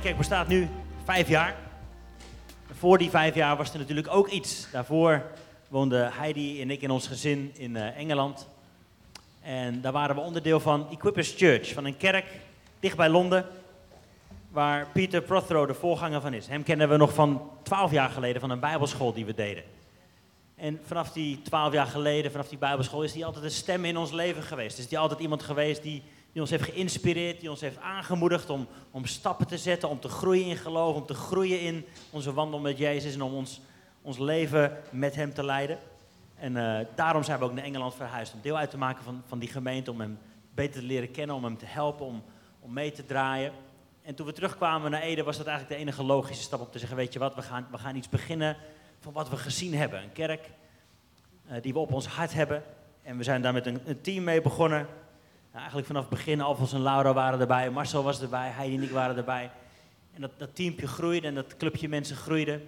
kerk bestaat nu vijf jaar. Voor die vijf jaar was er natuurlijk ook iets. Daarvoor woonden Heidi en ik en ons gezin in eh, Engeland. En daar waren we onderdeel van Equippers Church, van een kerk dicht bij Londen. Waar Peter Prothero de voorganger van is. Hem kennen we nog van twaalf jaar geleden van een bijbelschool die we deden. En vanaf die twaalf jaar geleden, vanaf die bijbelschool, is die altijd een stem in ons leven geweest. Is die altijd iemand geweest die, die ons heeft geïnspireerd, die ons heeft aangemoedigd om, om stappen te zetten, om te groeien in geloof, om te groeien in onze wandel met Jezus en om ons, ons leven met Hem te leiden. En eh, daarom zijn we ook naar Engeland verhuisd, om deel uit te maken van, van die gemeente, om Hem beter te leren kennen, om Hem te helpen, om, om mee te draaien. En toen we terugkwamen naar Ede was dat eigenlijk de enige logische stap om te zeggen, weet je wat, we gaan, we gaan iets beginnen van wat we gezien hebben. Een kerk eh, die we op ons hart hebben. En we zijn daar met een, een team mee begonnen. Nou, eigenlijk vanaf het begin, Alfons en Laura waren erbij, Marcel was erbij, Heidi en ik waren erbij. En dat, dat teampje groeide en dat clubje mensen groeide.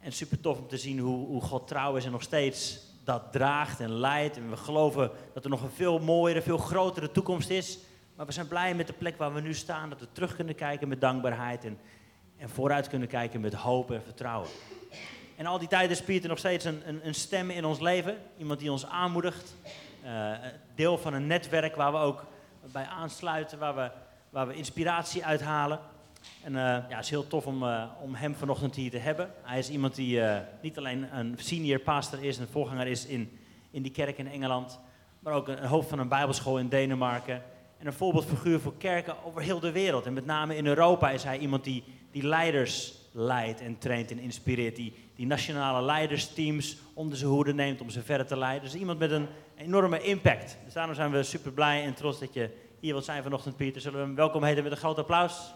En super tof om te zien hoe, hoe God trouw is en nog steeds dat draagt en leidt. En we geloven dat er nog een veel mooiere, veel grotere toekomst is. Maar we zijn blij met de plek waar we nu staan, dat we terug kunnen kijken met dankbaarheid en, en vooruit kunnen kijken met hoop en vertrouwen. En al die tijd is Pieter nog steeds een, een, een stem in ons leven. Iemand die ons aanmoedigt. Eh, deel van een netwerk waar we ook bij aansluiten, waar we, waar we inspiratie uithalen. En eh, ja, het is heel tof om, eh, om hem vanochtend hier te hebben. Hij is iemand die eh, niet alleen een senior pastor is, een voorganger is in, in die kerk in Engeland, maar ook een, een hoofd van een bijbelschool in Denemarken. En een voorbeeldfiguur voor kerken over heel de wereld. En met name in Europa is hij iemand die, die leiders leidt en traint en inspireert. Die, die nationale leidersteams onder zijn hoede neemt om ze verder te leiden. Dus iemand met een enorme impact. Dus daarom zijn we super blij en trots dat je hier wilt zijn vanochtend, Pieter. Zullen we hem welkom heten met een groot applaus?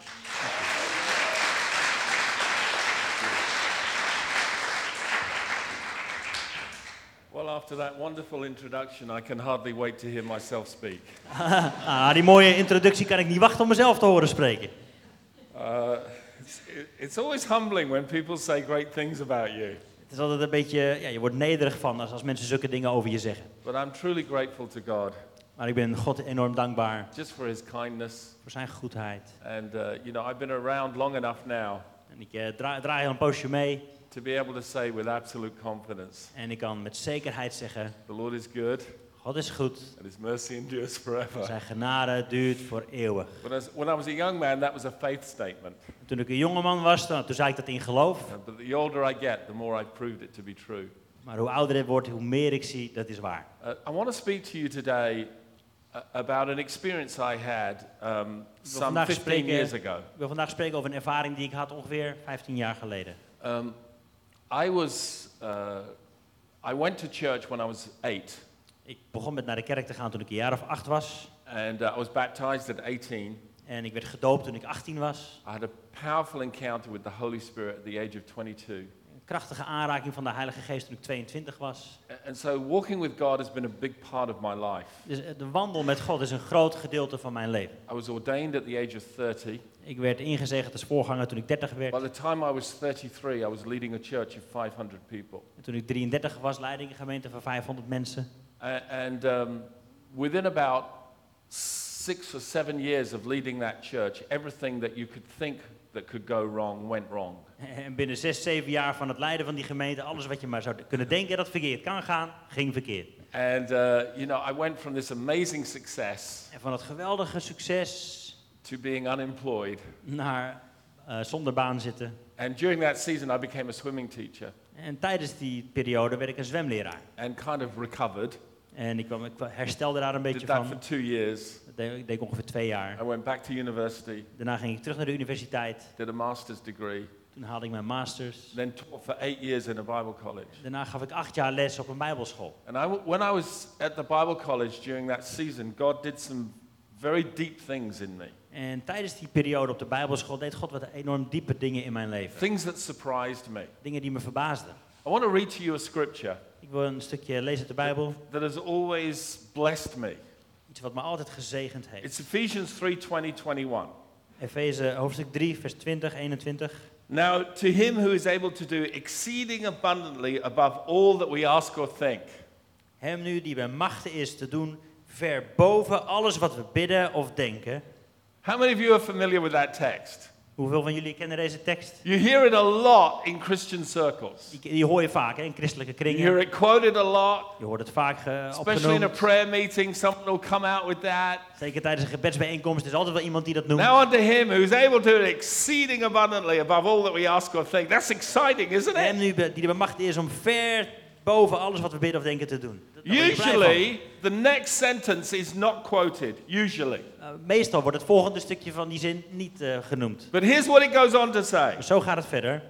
Well, after that wonderful introduction, I can hardly wait to hear myself speak. Ah, die mooie introductie kan ik niet wachten om mezelf te horen spreken. Uh, it's, it- it's always humbling when people say great things about you, Het is altijd een beetje, ja, je wordt nederig van als, als mensen zulke dingen over je zeggen. but I'm truly grateful to God Maar ik ben God enorm dankbaar just for His kindness. voor zijn goedheid. And, uh, you know, I've been around long enough now En ik eh, draai, draai al een poosje mee to be able to say with absolute confidence, en ik kan met zekerheid zeggen, the Lord is good God is goed. and His mercy endures forever. Zijn genade duurt voor eeuwen. When I, was, when I was a young man, that was a faith statement. Toen ik een jongeman was, dan- toen zei ik dat in geloof. Uh, But the older I get, the more I've proved it to be true. Maar hoe ouder ik word, hoe meer ik zie, dat is waar. Uh, I want to speak to you today uh, about an experience I had um, some vandaag 15 spreken- years ago. Ik wil vandaag spreken over een ervaring die ik had ongeveer 15 jaar geleden. Um, I was, uh, I went to church when I was eight, Ik begon met naar de kerk te gaan toen ik een jaar of acht was. and uh, I was baptized at 18. En ik werd gedoopt toen ik 18 was. I had a powerful encounter with the Holy Spirit at the age of 22. Een krachtige aanraking van de Heilige Geest toen ik 22 was. A- And so, walking with God has been a big part of my life. Dus eh, de wandel met God is een groot gedeelte van mijn leven. I was ordained at the age of 30. Ik werd ingezegd als voorganger toen ik 30 werd. By the time I was 33, I was leading a church of 500 people. En toen ik 33 was, leidde ik een gemeente van 500 mensen. A- And um, within about six or seven years of leading that church, everything that you could think that could go wrong went wrong. En binnen zes, zeven jaar van het leiden van die gemeente, alles wat je maar zou kunnen denken dat verkeerd kan gaan, ging verkeerd. And, uh, you know, I went from this amazing success En van het geweldige succes to being unemployed. naar eh, zonder baan zitten. And during that season, I became a swimming teacher En tijdens die periode werd ik een zwemleraar. and kind of recovered. En ik, kwam, ik herstelde daar een beetje Did that for van. two years. Dat deed, ik deed ongeveer twee jaar. I went back to university, Daarna ging ik terug naar de universiteit. did a master's degree, Toen haalde ik mijn masters. then taught for eight years in a Bible college. Daarna gaf ik acht jaar les op een bijbelschool. And I w when I was at the Bible college during that season, God did some very deep things in me. En tijdens die periode op de bijbelschool deed God wat enorm diepe dingen in mijn leven. Things that surprised me. Dingen die me verbaasden. I want to read to you a scripture Ik wil een stukje lezen uit de Bijbel. that has always blessed me. Iets wat me altijd gezegend heeft. It's Ephesians 3 20, 21. Efeze hoofdstuk 3, vers 20, 21. Now, to him who is able to do exceeding abundantly above all that we ask or think, Hem nu die bij machten is te doen, ver boven alles wat we bidden of denken. How many of you are familiar with that text? Hoeveel van jullie kennen deze tekst? You hear it a lot in Christian circles. Die, die hoor je vaak hè, in christelijke You kringen. hear it quoted a lot, Je hoort het vaak eh, ge- especially in a opgenomen. prayer meeting. Someone will come out with that. Zeker tijdens een gebedsbijeenkomst is altijd wel iemand die dat noemt. Now unto him who's able to do exceeding abundantly above all that we ask or think. That's exciting, isn't Hem it? nu be- die de macht is om ver boven alles wat we bidden of denken te doen. Daar word je blij van. Usually, the next sentence is not quoted. Usually. Eh, meestal wordt het volgende stukje van die zin niet eh, genoemd. But here's what it goes on to say Maar zo gaat het verder.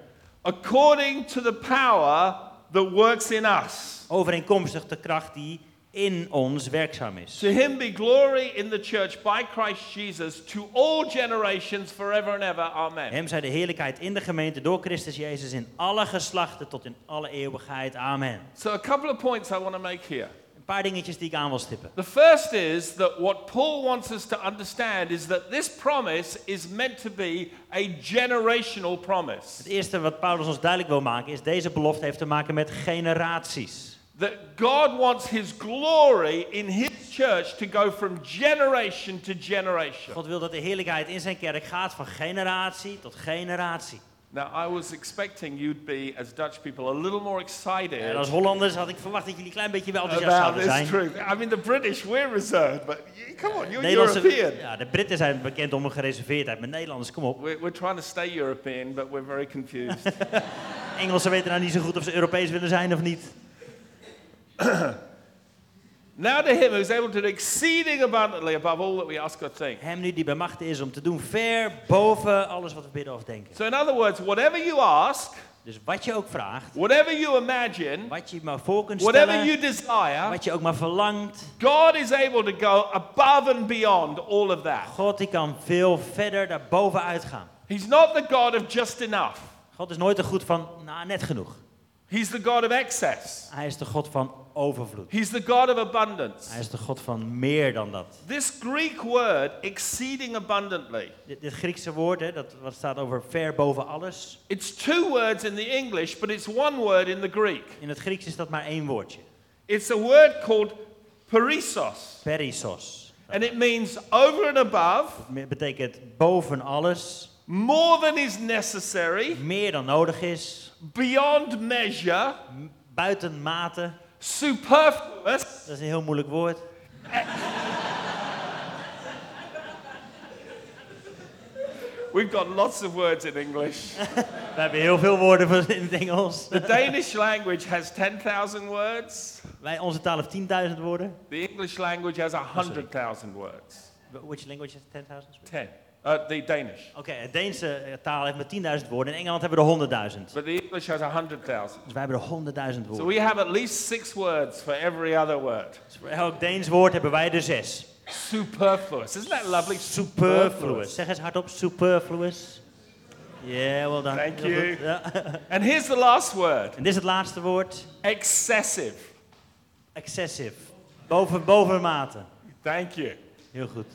according to the power that works in us. Overeenkomstig de kracht die in ons werkzaam is. To him be glory in the church by Christ Jesus to all generations forever and ever. Amen. Hem zij de heerlijkheid in de gemeente door Christus Jezus in alle geslachten tot in alle eeuwigheid. Amen. So, a couple of points I want to make here. Een paar dingetjes die ik aan wil stippen. The first is that what Paul wants us to understand is that this promise is meant to be a generational promise. Het eerste wat Paulus ons duidelijk wil maken is deze belofte heeft te maken met generaties. That God wants his glory in his church to go from generation to generation. God wil dat de heerlijkheid in zijn kerk gaat van generatie tot generatie. Now, I was expecting you'd be, as Dutch people, a little more En excited als Hollanders had ik verwacht dat jullie een klein beetje wel enthousiast zouden about this zijn. truth. I mean, the British, we're reserved, but y- come on, you're Nederlandse, European. ja, de Britten zijn bekend om hun gereserveerdheid, maar Nederlanders, kom op. We're, we're trying to stay European, but we're very confused. Engelsen weten nou niet zo goed of ze Europees willen zijn of niet. now to him who's able to do exceeding abundantly above all that we ask or think. Hem nu die bij macht is om te doen ver boven alles wat we bidden of denken. So, in other words, whatever you ask, Dus wat je ook vraagt, whatever you imagine, wat je maar voor kunt whatever stellen, you desire, wat je ook maar verlangt, God is able to go above and beyond all of that. God die kan veel verder daarboven uitgaan. He's not the God of just enough, God is nooit de goed van, nou, net genoeg. He's the God of excess, Hij is de God van overvloed. He's the God of abundance. Hij is de God van meer dan dat. This Greek word, exceeding abundantly, Dit, dit Griekse woord, hè, dat wat staat over ver boven alles. it's two words in the English, but it's one word in the Greek. In het Grieks is dat maar één woordje. It's a word called perisos, Perissos. and it means over and above, Dat betekent boven alles, more than is necessary, meer dan nodig is, beyond measure, m- buiten mate. superfluous, Dat is een heel moeilijk woord. We've got lots of words in English. We hebben heel veel woorden voor in het Engels. The Danish language has 10,000 words. Wij, onze taal heeft 10.000 woorden. The English language has 100,000 words. Which language has 10.000? 10. Uh, the Danish. Oké, het Deense eh, taal heeft maar 10.000 woorden. In Engeland hebben we er 100.000. But the English has 100,000. Dus wij hebben er 100.000 So woorden. we have at least six words for every other word. Dus voor elk Deens woord hebben wij er zes. Superfluous. Isn't that lovely? Superfluous. Zeg eens hardop, superfluous. Yeah, well done. Thank Heel you. goed, ja. And here's the last word En dit is het laatste woord. excessive. Excessive. Boven, bovenmate. Thank you. Heel goed.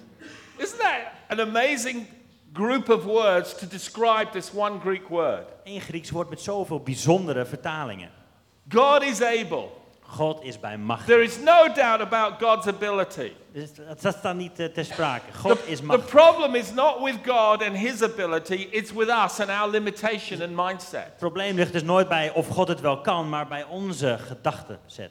Isn't that an amazing group of words to describe this one Greek word? Eén Grieks woord met zoveel bijzondere vertalingen. God is able. God is bij macht. There is no doubt about God's ability. Dus dat dat staat niet eh, ter sprake. The, God is the macht. problem is not with God and his ability, it's with us and our limitation and mindset. Het probleem ligt dus nooit bij of God het wel kan, maar bij onze gedachtenzet.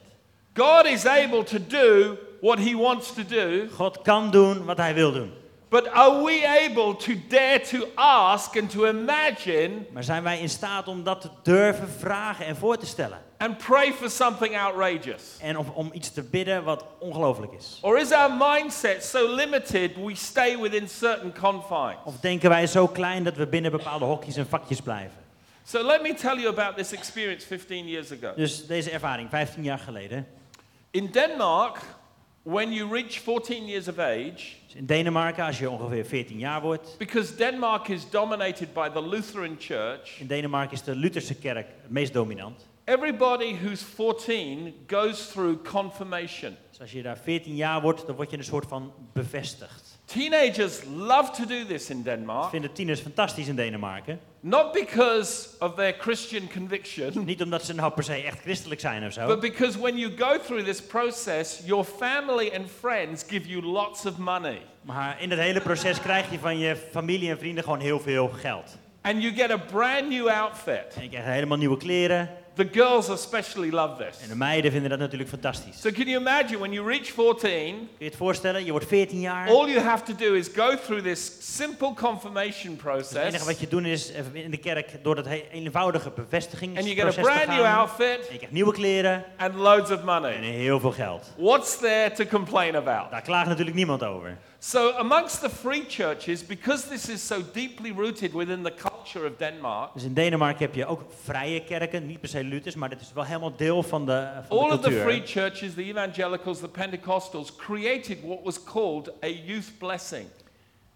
God is able to do what he wants to do, God kan doen wat hij wil doen. But are we able to dare to ask and to imagine Maar zijn wij in staat om dat te durven vragen en voor te stellen? and pray for something outrageous? En om, om iets te bidden wat ongelooflijk is? Or is our mindset so limited we stay within certain confines? Of denken wij zo klein dat we binnen bepaalde hokjes en vakjes blijven? So let me tell you about this experience 15 years ago. Dus deze ervaring, 15 jaar geleden. In Denmark, when you reach 14 years of age, Dus in Denemarken, als je ongeveer 14 jaar wordt. because Denmark is dominated by the Lutheran Church, In Denemarken is de Lutherse kerk het meest dominant. Everybody who's 14 goes through confirmation. Dus als je daar 14 jaar wordt, dan word je een soort van bevestigd. Teenagers love to do this in Dat Denmark, vinden tieners fantastisch in Denemarken. not because of their Christian conviction, Niet omdat ze nou per se echt christelijk zijn of zo. but because when you go through this process, your family and friends give you lots of money. Maar in dat hele proces krijg je van je familie en vrienden gewoon heel veel geld. And you get a brand new outfit. En je krijgt helemaal nieuwe kleren. The girls especially love this. En de meiden vinden dat natuurlijk fantastisch. So, can you imagine when you reach 14, Kun je het voorstellen? Je wordt 14 jaar. all you have to do is go through this simple confirmation Het enige process, wat je doen is even in de kerk door dat he- eenvoudige and you get bevestigingsproces te a brand new gaan. En outfit je krijgt nieuwe kleren and loads of en money. heel veel geld. What's there to complain about? Daar klaagt natuurlijk niemand over. So, amongst the free churches, because this is so deeply rooted within the culture of Denmark, Dus in Denemarken heb je ook vrije kerken, niet per se Luthers, maar dit is wel helemaal deel van de, eh, van de all of the free cultuur. churches, the evangelicals, the Pentecostals, created what was called a youth blessing.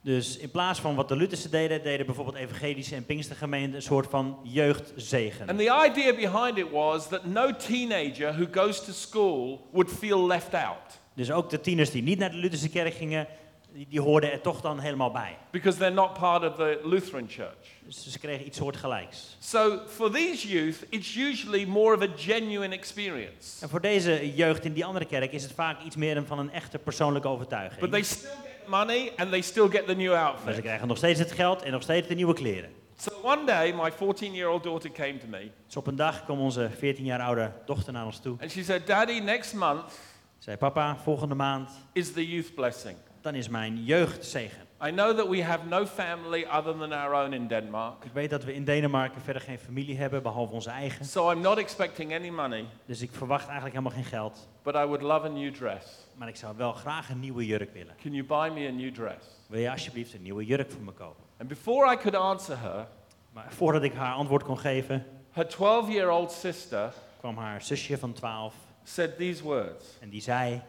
Dus in plaats van wat de Lutherse deden, deden bijvoorbeeld evangelische en pinkstergemeenten een soort van jeugdzegen. And the idea behind it was that no teenager who goes to school would feel left out Dus ook de tieners die niet naar de Lutherse kerk gingen, die, die hoorden er toch dan helemaal bij. because they're not part of the Lutheran church. Dus ze kregen iets soortgelijks. So for these youth, it's usually more of a genuine experience. En voor deze jeugd in die andere kerk is het vaak iets meer een- van een echte persoonlijke But they overtuiging. still get money and they still get the new Maar ze outfit. krijgen nog steeds het geld en nog steeds de nieuwe kleren. So one day, my 14 year old daughter came to me Dus op een dag kwam onze 14 jaar oude dochter naar ons toe. and she said, Daddy, next month Zei, papa, volgende maand, is the youth blessing. dan is mijn jeugdzegen. I know that we have no family other than our own in Denmark, Ik weet dat we in Denemarken verder geen familie hebben, behalve onze eigen. so I'm not expecting any money, Dus ik verwacht eigenlijk helemaal geen geld. but I would love a new dress. Maar ik zou wel graag een nieuwe jurk willen. Can you buy me a new dress? Wil je alsjeblieft een nieuwe jurk voor me kopen? And before I could answer her, Maar voordat ik haar antwoord kon geven, her 12 year old sister kwam haar zusje van 12 said these words en die zei: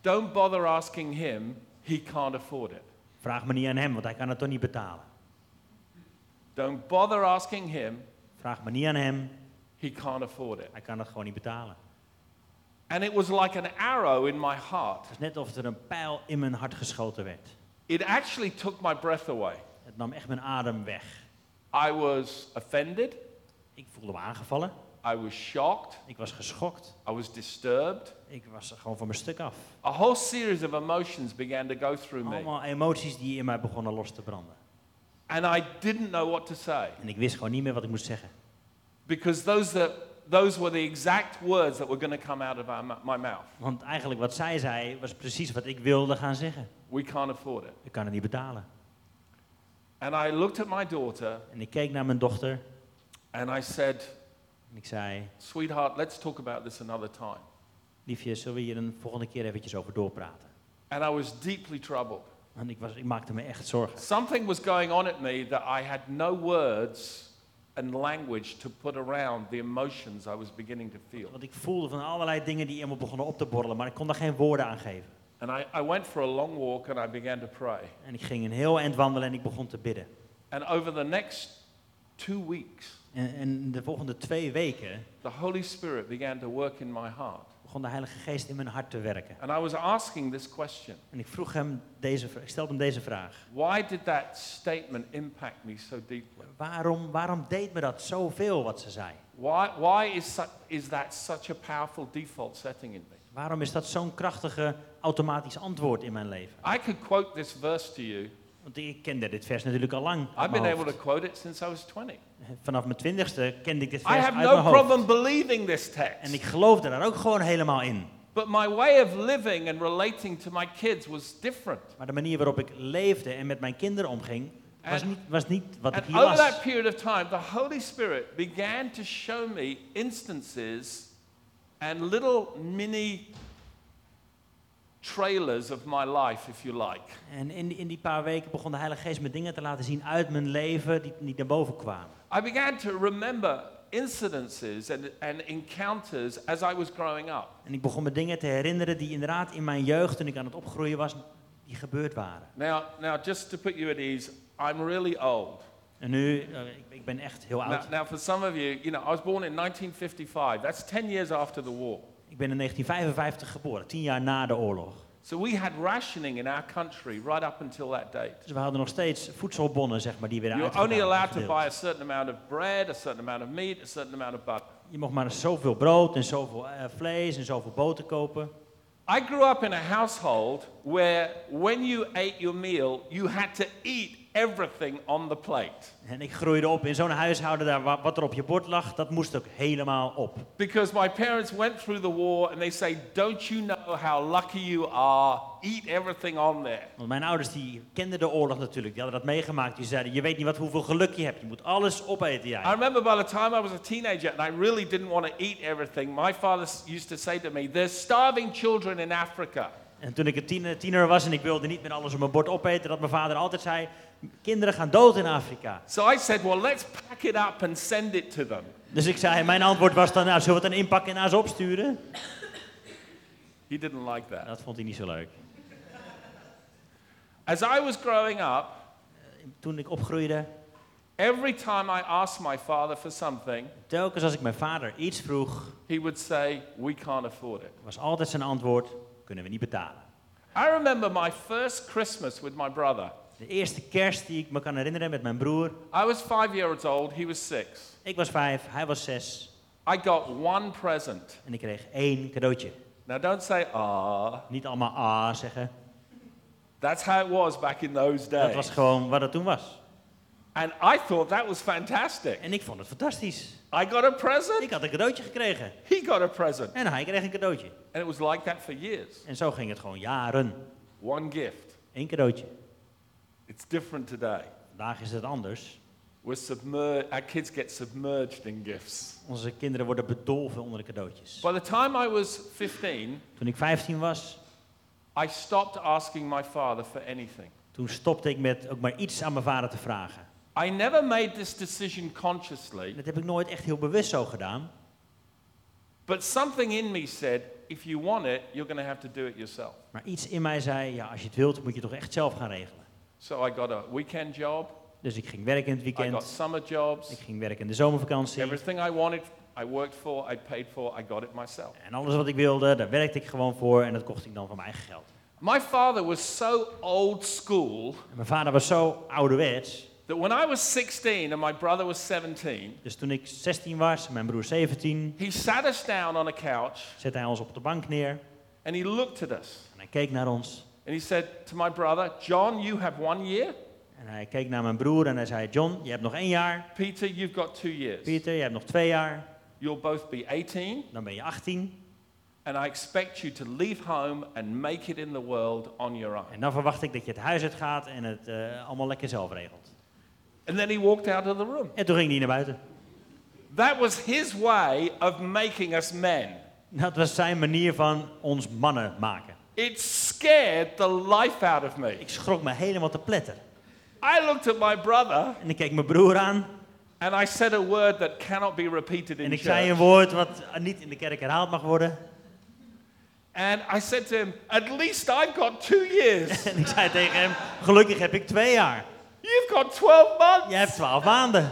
Don't bother asking him, he can't afford it. Vraag me niet aan hem, want hij kan het toch niet betalen. Don't bother asking him, Vraag me niet aan hem, he can't afford it. hij kan het gewoon niet betalen. And it was like an arrow in my heart. Het is net alsof er een pijl in mijn hart geschoten werd. It actually took my breath away. Het nam echt mijn adem weg. I was offended, Ik voelde me aangevallen, I was shocked, ik was geschokt, I was disturbed. ik was gewoon van mijn stuk af. A whole series of emotions began to go through me, Allemaal emoties die in mij begonnen los te branden. and I didn't know what to say En ik wist gewoon niet meer wat ik moest zeggen. because those, are, those were the exact words that were going to come out of our, mou- my mouth. Want eigenlijk wat zij zei was precies wat ik wilde gaan zeggen. We can't afford it. Ik kan het niet betalen. And I looked at my daughter En ik keek naar mijn dochter and I said, en ik zei: Sweetheart, let's talk about this another time. Liefje, zullen we hier een volgende keer eventjes over doorpraten? And I was deeply troubled. Want ik, was, ik maakte me echt zorgen. Something was going on at me that I had no words and language to put around the emotions I was beginning to feel. Want ik voelde van allerlei dingen die in me begonnen op te borrelen, maar ik kon daar geen woorden aan geven. And I, I went for a long walk and I began to pray. En ik ging een heel eind wandelen en ik begon te bidden. And over the next two weeks, En, en de volgende twee weken the Holy Spirit began to work in my heart. begon de Heilige Geest in mijn hart te werken. And I was asking this question En ik vroeg hem deze, vra- ik stelde hem deze vraag. Why did that statement impact me so deeply? Waarom, waarom deed me dat zoveel wat ze zei? Why, why is, su- is that such a powerful default setting in me? Waarom is dat zo'n krachtige automatisch antwoord in mijn leven? I could quote this verse to you. Want ik kende dit vers natuurlijk al lang. uit I've mijn been able hoofd. to quote it since I was 20. Vanaf mijn twintigste kende ik dit vers I have uit no mijn hoofd. problem believing this En text. ik geloofde daar ook gewoon helemaal in. But my way of living and relating to my kids was different. Maar de manier waarop ik leefde en met mijn kinderen omging, was, En- niet, was niet wat ik And hier over las. that period of time, the Holy Spirit began to show me instances and little mini trailers of my life, if you like. En in, die- in die paar weken begon de Heilige Geest me dingen te laten zien uit mijn leven die niet naar boven kwamen. I began to remember incidences and, and encounters as I was growing up. En ik begon me dingen te herinneren die inderdaad in mijn jeugd, toen ik aan het opgroeien was, die gebeurd waren. Now, now, just to put you at ease, I'm really old. En nu, eh, ik, ik ben echt heel Now, oud. now, for some of you, you know, I was born in 1955. That's 10 years after the war. Ik ben in 1955 geboren, tien jaar na de oorlog. So we had rationing in our country right up until that date. Dus we hadden nog steeds voedselbonnen, zeg maar, die werden You're only uitgedaan, allowed to uitgedeeld. buy a certain amount of bread, a certain amount of meat, a certain amount of butter. Je mocht maar zoveel brood en zoveel eh, vlees en zoveel boter kopen. I grew up in a household where when you ate your meal, you had to eat everything on the plate En ik groeide op in zo'n huishouden, daar, wa- wat er op je bord lag, dat moest ook helemaal op. because my parents went through the war and they say, Don't you know how lucky you are? Eat everything on there. Want mijn ouders die kenden de oorlog natuurlijk, die hadden dat meegemaakt. Die zeiden, je weet niet wat, hoeveel geluk je hebt, je moet alles opeten jij. I remember by the time I was a teenager and I really didn't want to eat everything, my father s- used to say to me, There's starving children in Africa. En toen ik een tiener, tiener was en ik wilde niet meer alles op mijn bord opeten, dat mijn vader altijd zei, kinderen gaan dood in Afrika. So I said, Well, let's pack it up and send it to them. Dus ik zei, mijn antwoord was dan, nou, zullen we het dan inpakken en naar ze opsturen? He didn't like that. Dat vond hij niet zo leuk. As I was growing up, Toen ik opgroeide, every time I asked my father for something, telkens als ik mijn vader iets vroeg, he would say, We can't afford it. was altijd zijn antwoord, kunnen we niet betalen. I remember my first Christmas with my brother. De eerste kerst die ik me kan herinneren met mijn broer, I was five years old, he was six. ik was vijf, hij was zes I got one present. en ik kreeg één cadeautje. Now, don't say, ah. Niet allemaal ah zeggen, That's how it was back in those dat days. was gewoon wat het toen was. And I thought that was fantastic. En ik vond het fantastisch. I got a present, Ik had een cadeautje gekregen he got a present. en hij kreeg een cadeautje. And it was like that for years. En zo ging het gewoon jaren. One gift. Eén cadeautje. It's different today. Vandaag is het anders. We're submerged, our kids get submerged in gifts. Onze kinderen worden bedolven onder de cadeautjes. By the time I was 15, Toen ik 15 was, I stopped asking my father for anything. toen stopte ik met ook maar iets aan mijn vader te vragen. I never made this decision En consciously, Dat heb ik nooit echt heel bewust zo gedaan. but something in me said, if you want it, you're going to have to do it yourself. Maar iets in mij zei, ja, als je het wilt, moet je het toch echt zelf gaan regelen. So I got a weekend job, Dus ik ging werken in het I got weekend. summer jobs, Ik ging werken in de zomervakantie. Everything I wanted, I worked for, I paid for, I got it myself. En alles wat ik wilde, daar werkte ik gewoon voor. En dat kocht ik dan van mijn eigen geld. My father was so old school En mijn vader was zo ouderwets. that when I was 16 and my brother was 17, Dus toen ik 16 was, en mijn broer 17, he sat us down on a couch zette hij ons op de bank neer. and he looked at us En hij keek naar ons. and he said to my brother, John, you have one year. En hij keek naar mijn broer en hij zei, John, je hebt nog één jaar. Peter, you've got two years. Pieter, je hebt nog twee jaar. You'll both be 18, Dan ben je 18. and I expect you to leave home and make it in the world on your own. En dan verwacht ik dat je het huis uit gaat en het eh, allemaal lekker zelf regelt. And then he walked out of the room. En toen ging hij naar buiten. That was his way of making us men. Dat was zijn manier van ons mannen maken. It scared the life out of me. Ik schrok me helemaal te pletter. I looked at my brother En ik keek mijn broer aan and I said a word that cannot be repeated in en ik zei een church. woord wat niet in de kerk herhaald mag worden. And I said to him, At least I've got two years. En ik zei tegen hem, gelukkig heb ik twee jaar. You've got 12 months. Jij hebt twaalf maanden.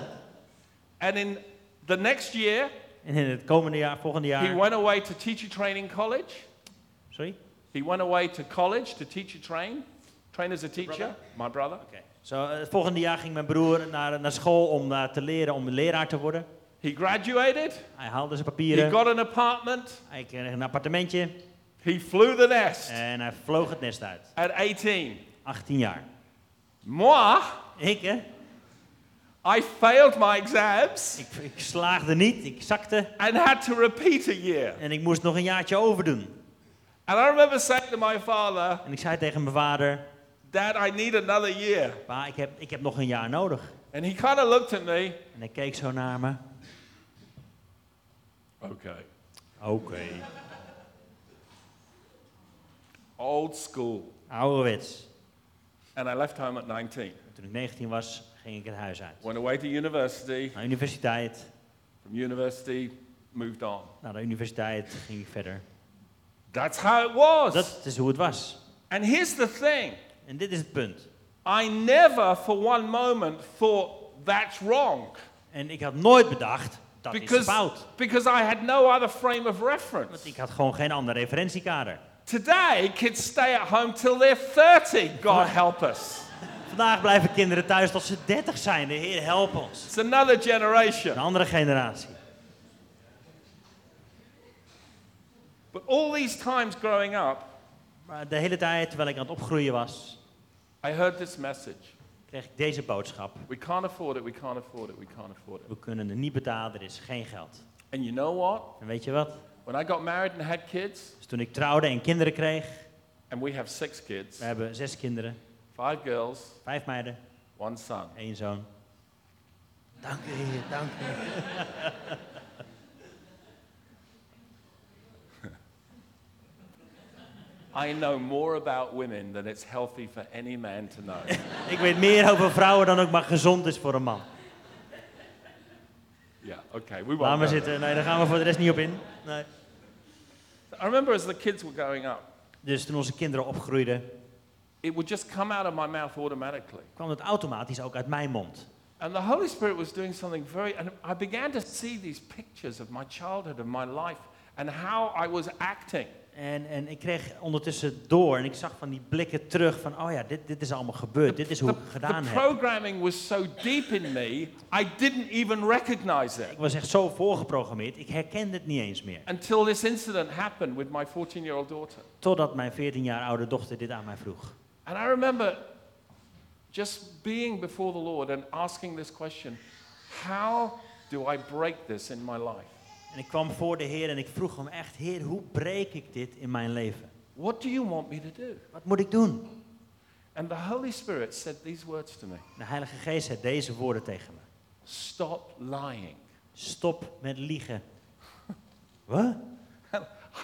And in the next year, En in het komende jaar, volgende he jaar... went away to teacher training college. Sorry? He went away to college to teacher train, train as a teacher, my brother. Oké. Zo, eh, het volgende jaar ging mijn broer naar, naar school om daar te leren, om leraar te worden. He graduated. Hij haalde zijn He papieren, got an apartment. hij kreeg een appartementje He flew the nest en hij vloog het nest uit. at 18. 18 jaar. Moi, Ik, hè? I failed my exams Ik, ik slaagde niet, ik zakte and had to repeat a year. en ik moest nog een jaartje overdoen. And I remember saying to my father, En ik zei tegen mijn vader, Dad, I need another year. pa, ik heb, ik heb nog een jaar nodig. And he kind of looked at me. En hij keek zo naar me. Okay. Oké. Old school. Ouderwets. And I left home at 19. Toen ik 19 was, ging ik het huis uit. Went away to university. Naar de universiteit. From university, moved on. Naar de universiteit ging ik verder. That's how it was. Dat is hoe het was. And here's the thing En dit is het punt. I never for one moment thought, that's wrong. En ik had nooit bedacht, dat is Because, fout. because I had no other frame of reference. Want ik had gewoon geen ander referentiekader. Today, kids stay at home till they're 30. God help us. Vandaag blijven kinderen thuis tot ze 30 zijn. De Heer, help ons. It's another Een generation. andere generatie. But all these times growing up, Maar de hele tijd, terwijl ik aan het opgroeien was, I heard this message. kreeg ik deze boodschap. We can't afford it, we can't afford it, we can't afford it. We kunnen het niet betalen, er is geen geld. And you know what? En weet je wat? When I got married and had kids, Dus toen ik trouwde en kinderen kreeg, and we have six kids we hebben zes kinderen, five girls, vijf meiden, one son. één zoon. Dank u, Heer, dank u. I know more about women than it's healthy for any man to know. Ik weet meer over vrouwen dan ook maar gezond is voor een man. yeah, okay, we Laat maar won't. go zitten. Nee, daar gaan we voor de rest niet op in. Nee. there. I remember as the kids were growing up, Dus toen onze kinderen opgroeiden, it would just come out of my mouth automatically. kwam het automatisch ook uit mijn mond. And the Holy Spirit was doing something very, and I began to see these pictures of my childhood, of my life, and how I was acting. En, en ik kreeg ondertussen door en ik zag van die blikken terug van, oh ja, dit, dit is allemaal gebeurd, dit is hoe ik het The gedaan heb. programming was so deep in me, I didn't even recognize it Ik was echt zo voorgeprogrammeerd, ik herkende het niet eens meer. until this incident happened with my 14 year old daughter. Totdat mijn 14 jaar oude dochter dit aan mij vroeg. And I remember just being before the Lord and asking this question how do I break this in my life? En ik kwam voor de Heer en ik vroeg hem echt, Heer, hoe breek ik dit in mijn leven? What do you want me to do? Wat moet ik doen? And the Holy Spirit said these words to me De Heilige Geest zei deze woorden tegen me. Stop lying. Stop met liegen. Wat?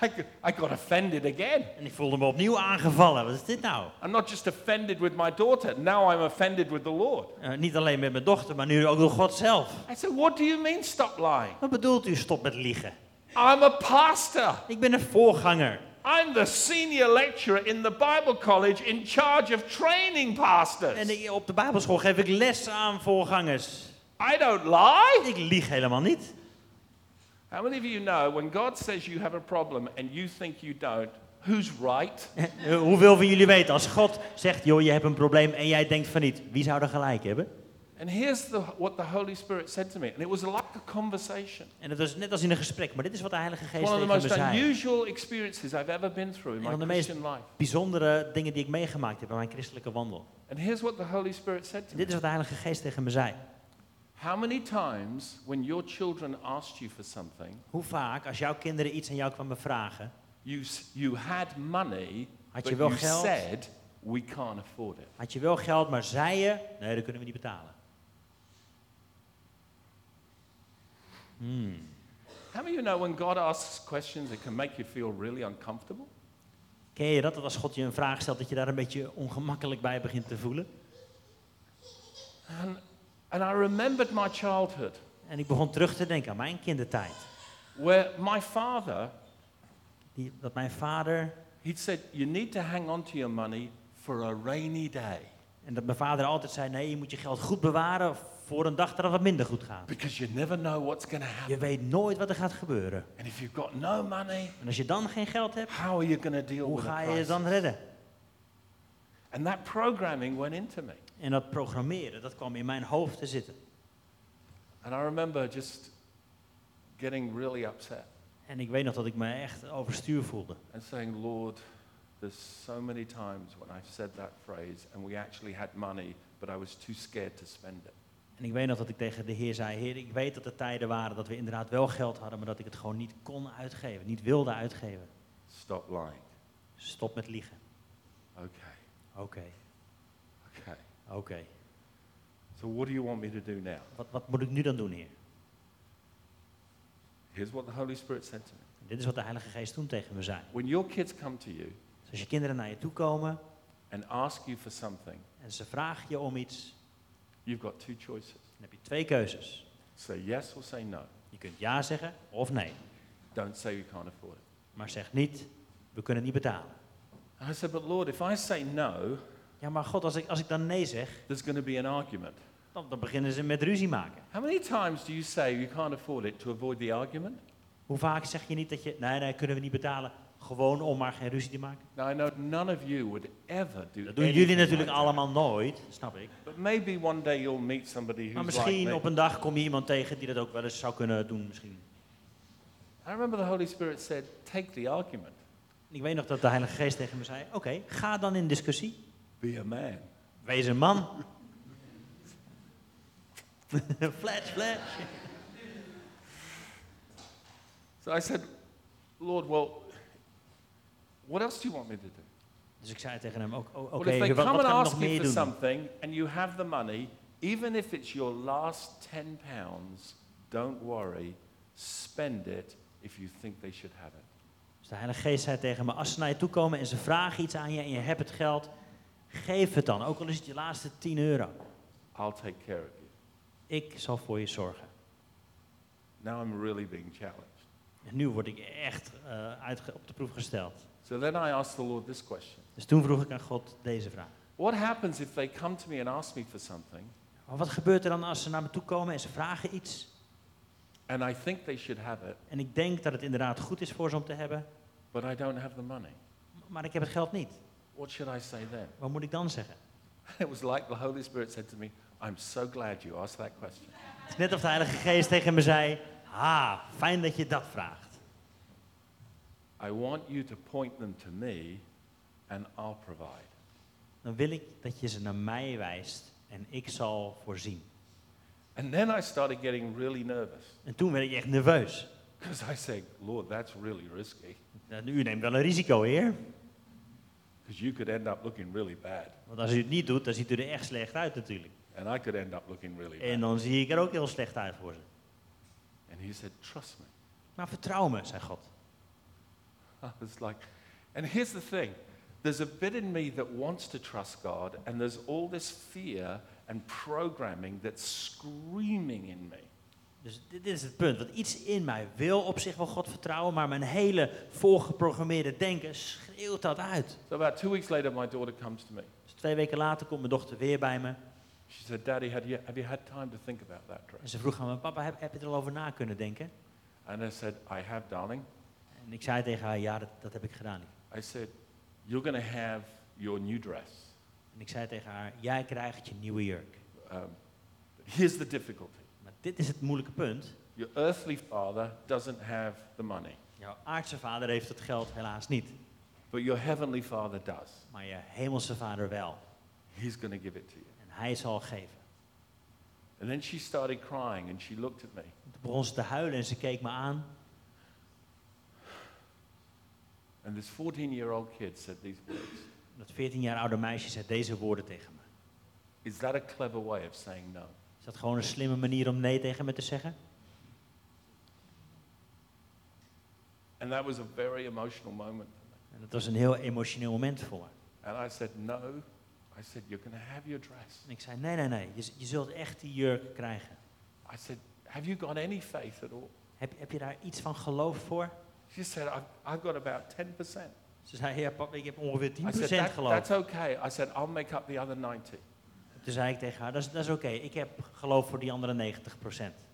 I, g- I got offended again. En ik voelde me opnieuw aangevallen. Wat is dit nou? I'm not just offended with my daughter, now I'm offended with the Lord. Eh, niet alleen met mijn dochter, maar nu ook door God zelf. I said, What do you mean, stop lying? Wat bedoelt u stop met liegen? I'm a pastor. Ik ben een voorganger. I'm the senior lecturer in the Bible college in charge of training En pastors. ik- op de Bijbelschool geef ik les aan voorgangers. I don't lie. Ik lieg helemaal niet. How many of you know when God says you have a problem and you think you don't, who's right? Eh, hoeveel van jullie weten, als God zegt, joh, je hebt een probleem en jij denkt van niet, wie zou er gelijk hebben? And here's the, what the Holy Spirit said to me, and it was like a conversation. En dat is net als in een gesprek, maar dit is wat de Heilige Geest One of the tegen most me zei. unusual experiences I've ever been through in Een van de my meest- Christian life. Bijzondere dingen die ik meegemaakt heb in mijn christelijke wandel. And here's what the Holy Spirit said to En dit me. is wat de Heilige Geest tegen me zei. How many times when your children asked you for something, Hoe vaak, als jouw kinderen iets aan jou kwamen vragen, you, s- you had money, Had but je wel you geld? said, we can't afford it. had je wel geld, maar zei je, nee, dat kunnen we niet betalen. How many of you know when God asks questions, it can make you feel really uncomfortable? Ken je dat, dat als God je een vraag stelt, dat je daar een beetje ongemakkelijk bij begint te voelen? And, and I remembered my childhood En ik begon terug te denken aan mijn kindertijd. where my father, Die, dat mijn vader, he'd said, you need to hang on to your money for a rainy day en dat mijn vader altijd zei, nee, je moet je geld goed bewaren voor een dag dat het wat minder goed gaat. because you never know what's going to happen. Je weet nooit wat er gaat gebeuren. And if you've got no money, En als je dan geen geld hebt, how are you going to deal hoe with ga it? je je dan redden? And that programming went into me. En dat programmeren, dat kwam in mijn hoofd te zitten. And I remember just getting really upset En ik weet nog dat ik me echt overstuur voelde. and saying, Lord, there's so many times when I've said that phrase and we actually had money, but I was too scared to spend it. En ik weet nog dat ik tegen de Heer zei: Heer, ik weet dat er tijden waren dat we inderdaad wel geld hadden, maar dat ik het gewoon niet kon uitgeven, niet wilde uitgeven. Stop lying. Stop met liegen. Okay, Oké, okay. oké. So what do you want me to do now? Wat, wat moet ik nu dan doen, Heer? Here's what the Holy Spirit said to me. En dit is wat de Heilige Geest toen tegen me zei. When your kids come to you Dus als je kinderen naar je toe komen and ask you for something, en ze vragen je om iets, you've got two choices dan heb je twee keuzes. say yes or say no. Je kunt ja zeggen of nee, Don't say you can't afford it. maar zeg niet: we kunnen niet betalen. And I said, But Lord, if I say no, Ja, maar God, als ik, als ik dan nee zeg, there's going to be an argument. dan, dan beginnen ze met ruzie maken. How many times do you say you can't afford it to avoid the argument? Hoe vaak zeg je niet dat je, nee, nee, kunnen we niet betalen, gewoon om maar geen ruzie te maken? Now, I know none of you would ever do Dat doen jullie anything natuurlijk like that. allemaal nooit, snap ik. But maybe one day you'll meet somebody who's Maar like misschien me. op een dag kom je iemand tegen die dat ook wel eens zou kunnen doen misschien. I remember the Holy Spirit said, take the argument, Ik weet nog dat de Heilige Geest tegen me zei, oké, ga dan in discussie. be a man. Wees een man. flash, flash. So I said, Lord, well, what else do you want me to do? Dus ik zei tegen hem ook, o- oké, well, if they wat, come wat and gaan we ask nog you meer for doen? something and you have the money, even if it's your last 10 pounds, don't worry, spend it if you think they should have it. Dus de Heilige Geest zei tegen me, als ze naar je toe komen en ze vragen iets aan je en je hebt het geld, geef het dan, ook al is het je laatste 10 euro. I'll take care of you. Ik zal voor je zorgen. Now I'm really being challenged. En nu word ik echt eh, uitge- op de proef gesteld. So then I asked the Lord this question Dus toen vroeg ik aan God deze vraag. What happens if they come to me and ask me for something Maar wat gebeurt er dan als ze naar me toe komen en ze vragen iets? and I think they should have it, En ik denk dat het inderdaad goed is voor ze om te hebben, but I don't have the money? maar ik heb het geld niet. What should I say then? Wat moet ik dan zeggen? It was like the Holy Spirit said to me, I'm so glad you asked that question. Het is net of de Heilige Geest tegen me zei, ha, fijn dat je dat vraagt. I want you to point them to me and I'll provide. Dan wil ik dat je ze naar mij wijst en ik zal voorzien. And then I started getting really nervous En toen werd ik echt nerveus. because I said, Lord, that's really risky Nou, U neemt wel een risico, heer. because you could end up looking really bad Want als u het niet doet, dan ziet u er echt slecht uit natuurlijk. and I could end up looking really En bad. dan zie ik er ook heel slecht uit voor ze. And he said, Trust me. Maar vertrouw me, zei God. I was like, and here's the thing there's a bit in me that wants to trust God, and there's all this fear and programming that's screaming in me. Dus dit, dit is het punt. Want iets in mij wil op zich wel God vertrouwen, maar mijn hele voorgeprogrammeerde denken schreeuwt dat uit. So about two weeks later, my daughter comes to me. Dus twee weken later komt mijn dochter weer bij me. She said, Daddy, had you, have you had time to think about that dress? En ze vroeg aan me, papa, heb, heb je er al over na kunnen denken? And I said, I have, darling. En ik zei tegen haar, ja, dat, dat heb ik gedaan. I said, You're going to have your new dress. En ik zei tegen haar, jij krijgt je nieuwe jurk. Um, but here's the difficulty Maar dit is het moeilijke punt. your earthly father doesn't have the money, Jouw aardse vader heeft het geld helaas niet. but your heavenly father does. Maar je hemelse vader wel. He's going to give it to you. En hij zal geven. And then she started crying and she looked at me. Toen begon ze te huilen en ze keek me aan. And this 14 year old kid said these words Dat 14 jaar oude meisje zei deze woorden tegen me. Is that a clever way of saying no? Is dat gewoon een slimme manier om nee tegen me te zeggen? And that was a very emotional moment for me. En dat was een heel emotioneel moment voor me. And I said, No. I said, You're going to have your dress. En ik zei, nee, nee, nee, je, z- je zult echt die jurk krijgen. I said, Have you got any faith at all? Heb, heb je daar iets van geloof voor? She said, I've, I've got about 10%. Ze zei, ja pap, ik heb ongeveer 10% I said, "That- geloof. That's okay. I said, I'll make up the other 90. Toen zei ik tegen haar, dat is, dat is oké, ik heb geloof voor die andere 90%.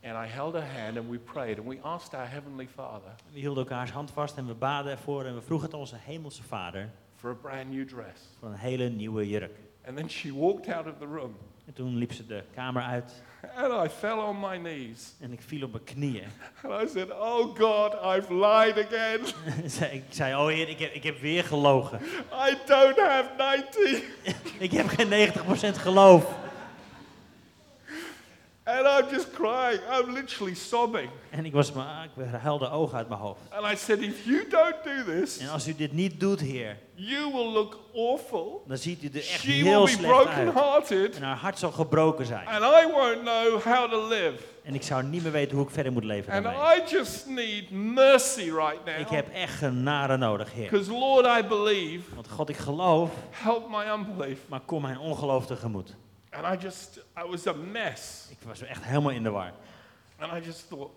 And I held her hand and we prayed and we asked our Heavenly Father We hielden elkaars hand vast en we baden ervoor en we vroegen het onze hemelse vader for a brand new dress. voor een hele nieuwe jurk. And then she walked out of the room En toen liep ze de kamer uit and I fell on my knees. en ik viel op mijn knieën. And I said, Oh God, I've lied again. En zei- ik zei, oh heer, ik heb, ik heb weer gelogen. I don't have 90 Ik heb geen 90% geloof. and I'm just crying. I'm literally sobbing. En ik, was maar, ik huilde ogen uit mijn hoofd. And I said, If you don't do this, En als u dit niet doet, heer, you will look awful. dan ziet u er echt She heel will be slecht broken uit. hearted En haar hart zal gebroken zijn. and I won't know how to live. En ik zou niet meer weten hoe ik verder moet leven And daarmee. I just need mercy right Ik now. heb echt genade nodig, heer. Because, Lord, I believe, Want God, ik geloof, help my unbelief. maar kom mijn ongeloof tegemoet. And I just, I was a mess. Ik was echt helemaal in de war. And I just thought,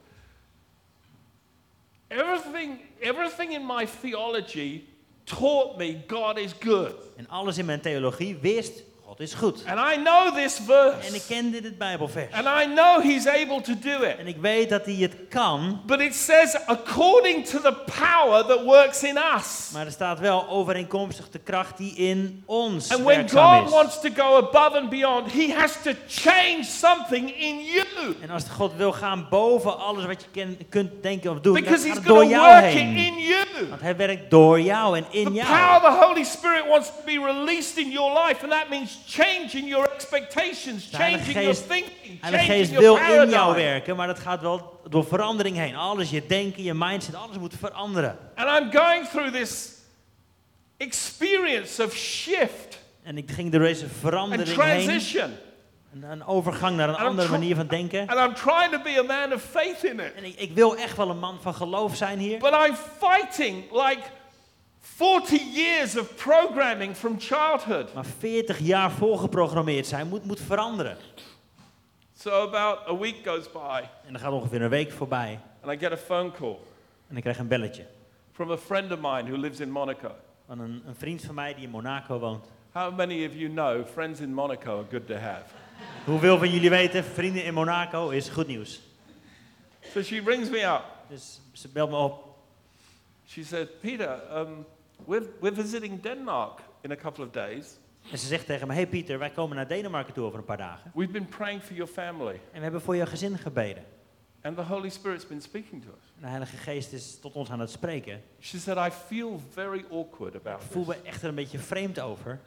everything, everything in my theology taught me God is good. En alles in mijn theologie wist, God is goed. And I know this En ik verse. kende dit Bijbelvers. And I know he's able to do it. En ik weet dat hij het kan, But it says, according to the power that works in us. maar er staat wel overeenkomstig de kracht die in ons And when werkzaam God is. wants to go above and beyond, he has to change something in you. En als God wil gaan boven alles wat je ken- kunt denken of doen, dan Because gaat he's het door going to jou work it heen. in you. Want hij werkt door jou en in The power jou. of the Holy Spirit wants to be released in your life, and that means changing your expectations, De Heilige changing your Geest- thinking, Heilige Geest changing wil your in jou paradigm. werken, maar dat gaat wel door verandering heen. Alles, je denken, je mindset, alles moet veranderen. And I'm going through this experience of shift En ik ging door deze and verandering heen, transition, een, een overgang naar een I'm andere tr- manier van denken. and I'm trying to be a man of faith in it. En ik, ik wil echt wel een man van geloof zijn hier. But I'm fighting like 40 years of programming from childhood. Maar 40 jaar voorgeprogrammeerd zijn moet, moet veranderen. So about a week goes by, En dan gaat ongeveer een week voorbij and I get a phone call en ik krijg een belletje from a friend of mine who lives in Monaco. van een, een vriend van mij die in Monaco woont. How many of you know friends in Monaco are good to have? Hoeveel van jullie weten, vrienden in Monaco is goed nieuws. So she rings me up. Dus ze belt me op. She said, Peter, um, we're, we're visiting Denmark in a couple of days. En ze zegt tegen me, hey Pieter, wij komen naar Denemarken toe over een paar dagen. We've been praying for your family, En we hebben voor je gezin gebeden. and the Holy Spirit's been speaking to us. En de Heilige Geest is tot ons aan het spreken. She said, I feel very awkward Ik about voel me this. echt er een beetje vreemd over.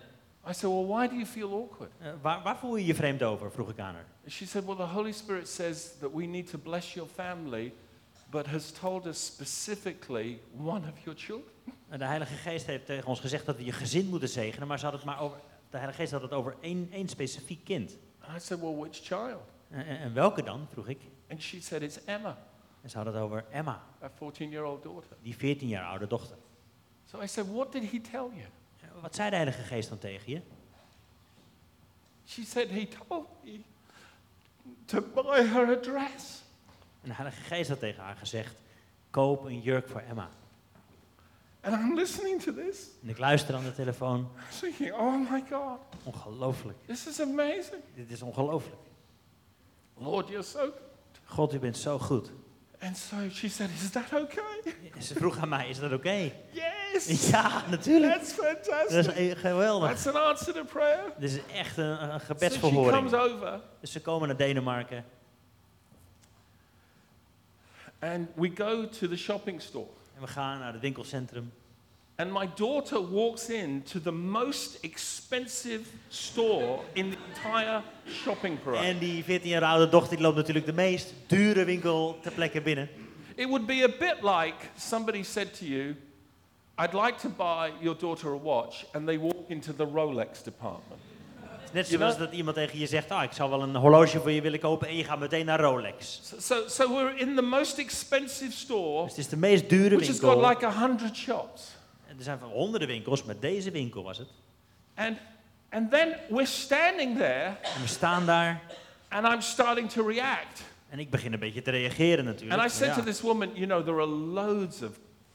I said, Well, why do you feel awkward? Eh, waar, waar voel je je vreemd over, vroeg ik aan haar. She said, Well, the Holy Spirit says that we need to bless your family, but has told us specifically one of your children. En de Heilige Geest heeft tegen ons gezegd dat we je gezin moeten zegenen, maar ze had het maar over, de Heilige Geest had het over één, één specifiek kind. I said, Well, which child? En, en- en welke dan, vroeg ik. And she said, It's Emma, En ze had het over Emma, our 14 year old daughter. die 14 jaar oude dochter. So I said, What did he tell you? Eh, Wat zei de Heilige Geest dan tegen je? She said, He told me to buy her a dress. En de Heilige Geest had tegen haar gezegd, koop een jurk voor Emma. And I'm listening to this, En ik luister aan de telefoon, thinking, Oh my God, ongelooflijk. this is amazing. Dit is ongelooflijk. Lord, you're so. good." God, u bent zo goed. And so she said, Is that okay? En ze vroeg aan mij, is dat oké? Yes. Ja, natuurlijk. That's Dat is fantastic. eh, geweldig. That's an answer to prayer. Dit is echt een, een So she comes gebedsverhoring. over Dus ze komen naar Denemarken. and we go to the shopping store. En we gaan naar het winkelcentrum. And my daughter walks in to the most expensive store in the entire shopping parade. En die 14 jaar oude dochter die loopt natuurlijk de meest dure winkel ter plekke binnen. It would be a bit like somebody said to you, I'd like to buy your daughter a watch, and they walk into the Rolex department. Net zoals dat iemand tegen je zegt, ah, ik zou wel een horloge voor je willen kopen en je gaat meteen naar Rolex. So, so, so we're in the most expensive store, Dus het is de meest dure which has got winkel. like a hundred shops. En er zijn van honderden winkels, maar deze winkel was het. And, and then we're standing there, En we staan daar and I'm starting to react. en ik begin een beetje te reageren natuurlijk. And I Maar said ja. to this woman, you know, there are loads of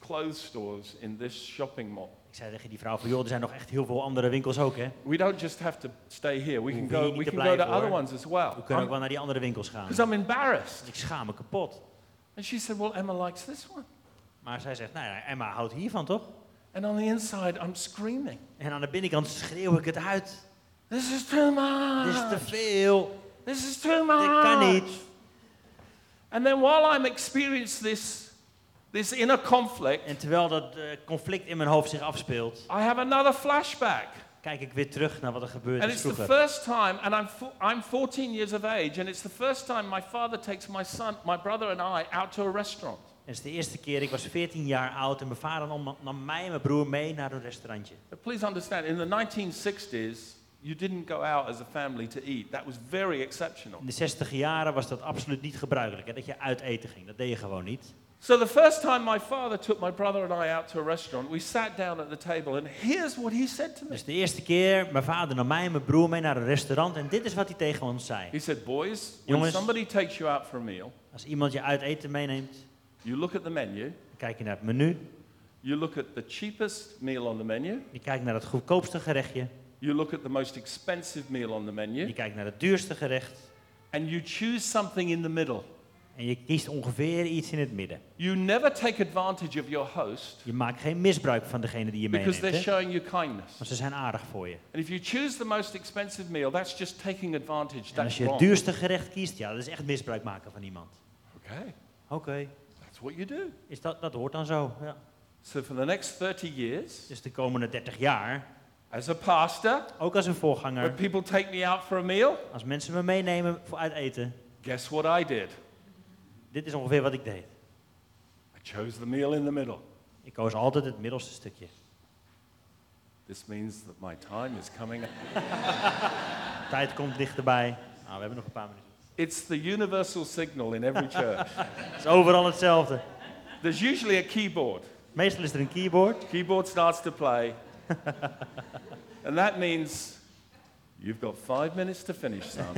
clothes stores in this shopping mall. Ik zei tegen die vrouw van, joh, er zijn nog echt heel veel andere winkels ook, hè. We don't just have to stay here. Hoe We can wil je go. niet We te can go to blijven, other hoor. ones as We kunnen ook well. wel naar die andere winkels gaan. Because I'm embarrassed. Ik schaam me kapot. And she said, well, Emma likes this one. Maar zij zegt, nou ja, Emma houdt hiervan, toch? And on the inside, I'm screaming. En aan de binnenkant schreeuw ik het uit. This is too much. Dit is Ah. te veel. This is too Dit much. kan niet. And then while I'm experiencing this, this inner conflict, En terwijl dat eh, conflict in mijn hoofd zich afspeelt, I have another flashback. kijk ik weer terug naar wat er gebeurd And is it's the vroeger. first time, and I'm, fo- I'm 14 years of age, and it's the first time my father takes my son, my brother, and I out to a restaurant. Het is de eerste keer, ik was 14 jaar oud en mijn vader nam, nam mij en mijn broer mee naar een restaurantje. But please understand, in the 1960s, you didn't go out as a family to eat. That was very exceptional. In de 60 jaren was dat absoluut niet gebruikelijk, hè, dat je uit eten ging. Dat deed je gewoon niet. So the first time my father took my brother and I out to a restaurant, we sat down at the table, and here's what he said to me. Dus de eerste keer, mijn vader nam mij en mijn broer mee naar een restaurant en dit is wat hij tegen ons zei. He said, Boys, when Jongens. somebody takes you out for a meal, Als iemand je uit eten meeneemt, you look at the menu, dan kijk je naar het menu, you look at the cheapest meal on the menu, je kijkt naar het goedkoopste gerechtje You look at the most expensive meal on the Je menu kijkt naar het duurste gerecht and you choose something in the middle. en je kiest ongeveer iets in het midden. You never take advantage of your host Je maakt geen misbruik van degene die je because meeneemt, they're hè? showing you kindness. want ze zijn aardig voor je. And if you choose the most expensive meal, that's just taking advantage. En als That's je het wrong. duurste gerecht kiest, ja, dat is echt misbruik maken van iemand. Okay, Oké, that's what you do. is dat, dat hoort dan zo. Ja. So for the next 30 years, Dus de komende 30 jaar, as a pastor, ook als een when voorganger, people take me out for a meal, als mensen me meenemen voor uit eten, guess what I did? dit is ongeveer wat ik deed. I chose the meal in the middle. Ik koos altijd het middelste stukje. This means that my time is coming up. De tijd komt dichterbij. Nou, we hebben nog een paar minuten. It's the universal signal in every church. Het is overal hetzelfde. There's usually a keyboard. Meestal is er een keyboard. Keyboard starts to play. and that means you've got five minutes to finish, son.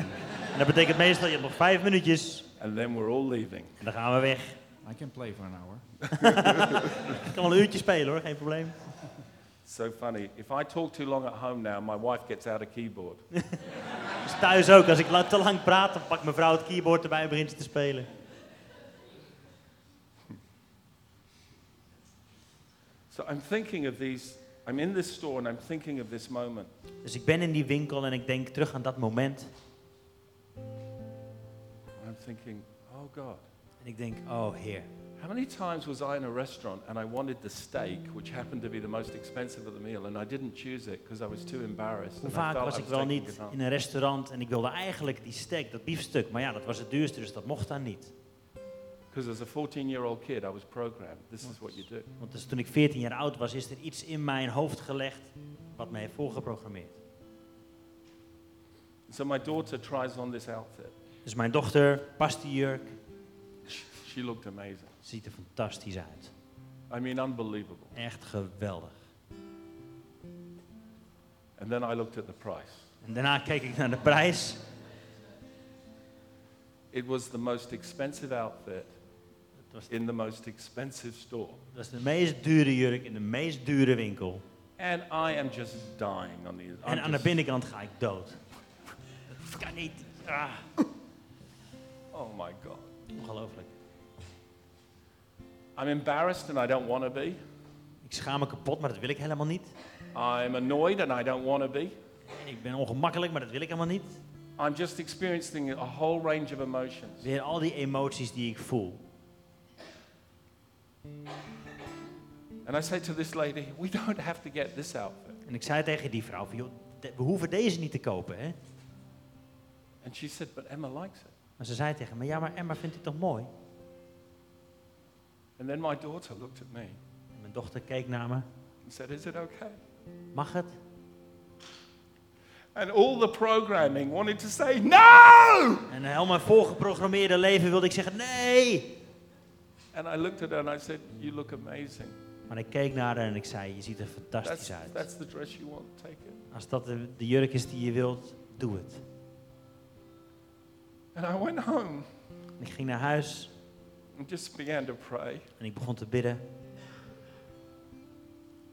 En dat betekent meestal, je hebt nog vijf minuutjes and then we're all leaving. en dan gaan we weg. I can play for an hour. Ik kan al een uurtje spelen hoor, geen probleem. So funny. If I talk too long at home now, my wife gets out a keyboard. Dus thuis ook, als ik la- te lang praat, dan pakt mijn vrouw het keyboard erbij en begint ze te spelen. So I'm thinking of these. I'm in this store and I'm thinking of this moment. Dus ik ben in die winkel en ik denk terug aan dat moment. And I'm thinking, oh God, En ik denk, oh heer, how many times was I in a restaurant and I wanted the steak, which happened to be the most expensive of the meal, and I didn't choose it because I was too embarrassed. hoe and I vaak felt was I ik wel taking niet advantage. in een restaurant en ik wilde eigenlijk die steak, dat biefstuk. Maar ja, dat was het duurste, dus dat mocht dan niet. Because as a 14 year old kid, I was programmed. This is what you do. Want dus toen ik 14 jaar oud was, is er iets in mijn hoofd gelegd wat mij heeft voorgeprogrammeerd. So my daughter tries on this outfit. Dus mijn dochter past die jurk, Sh- She looked amazing. ziet er fantastisch uit. I mean, unbelievable. Echt geweldig. And then I looked at the price. En daarna keek ik naar de prijs. It was the most expensive outfit Dat was, in the most expensive store. dat was de meest dure jurk in de meest dure winkel. And I am just dying on the I'm En aan de just- binnenkant ga ik dood. Dat kan niet. Ah, Oh my God. ongelooflijk. I'm embarrassed and I don't want to be. Ik schaam me kapot, maar dat wil ik helemaal niet. I'm annoyed and I don't want to be. En ik ben ongemakkelijk, maar dat wil ik helemaal niet. I'm just experiencing a whole range of emotions. Weer al die emoties die ik voel. And I say to this lady, we don't have to get this outfit. En ik zei tegen die vrouw, van, joh, de- we hoeven deze niet te kopen, hè? And she said, but Emma likes it. Maar ze zei tegen me, ja, maar Emma vindt dit toch mooi? And then my daughter looked at me En mijn dochter keek naar me, and said, is it okay? mag het? And all the programming wanted to say, no! En heel mijn voorgeprogrammeerde leven wilde ik zeggen, nee! And I looked at her and I said, you look amazing. Maar ik keek naar haar en ik zei, je ziet er That's, fantastisch uit. that's the dress you want, take it. Als dat de, de jurk is die je wilt, doe het. And I went home En ik ging naar huis and just began to pray. en ik begon te bidden.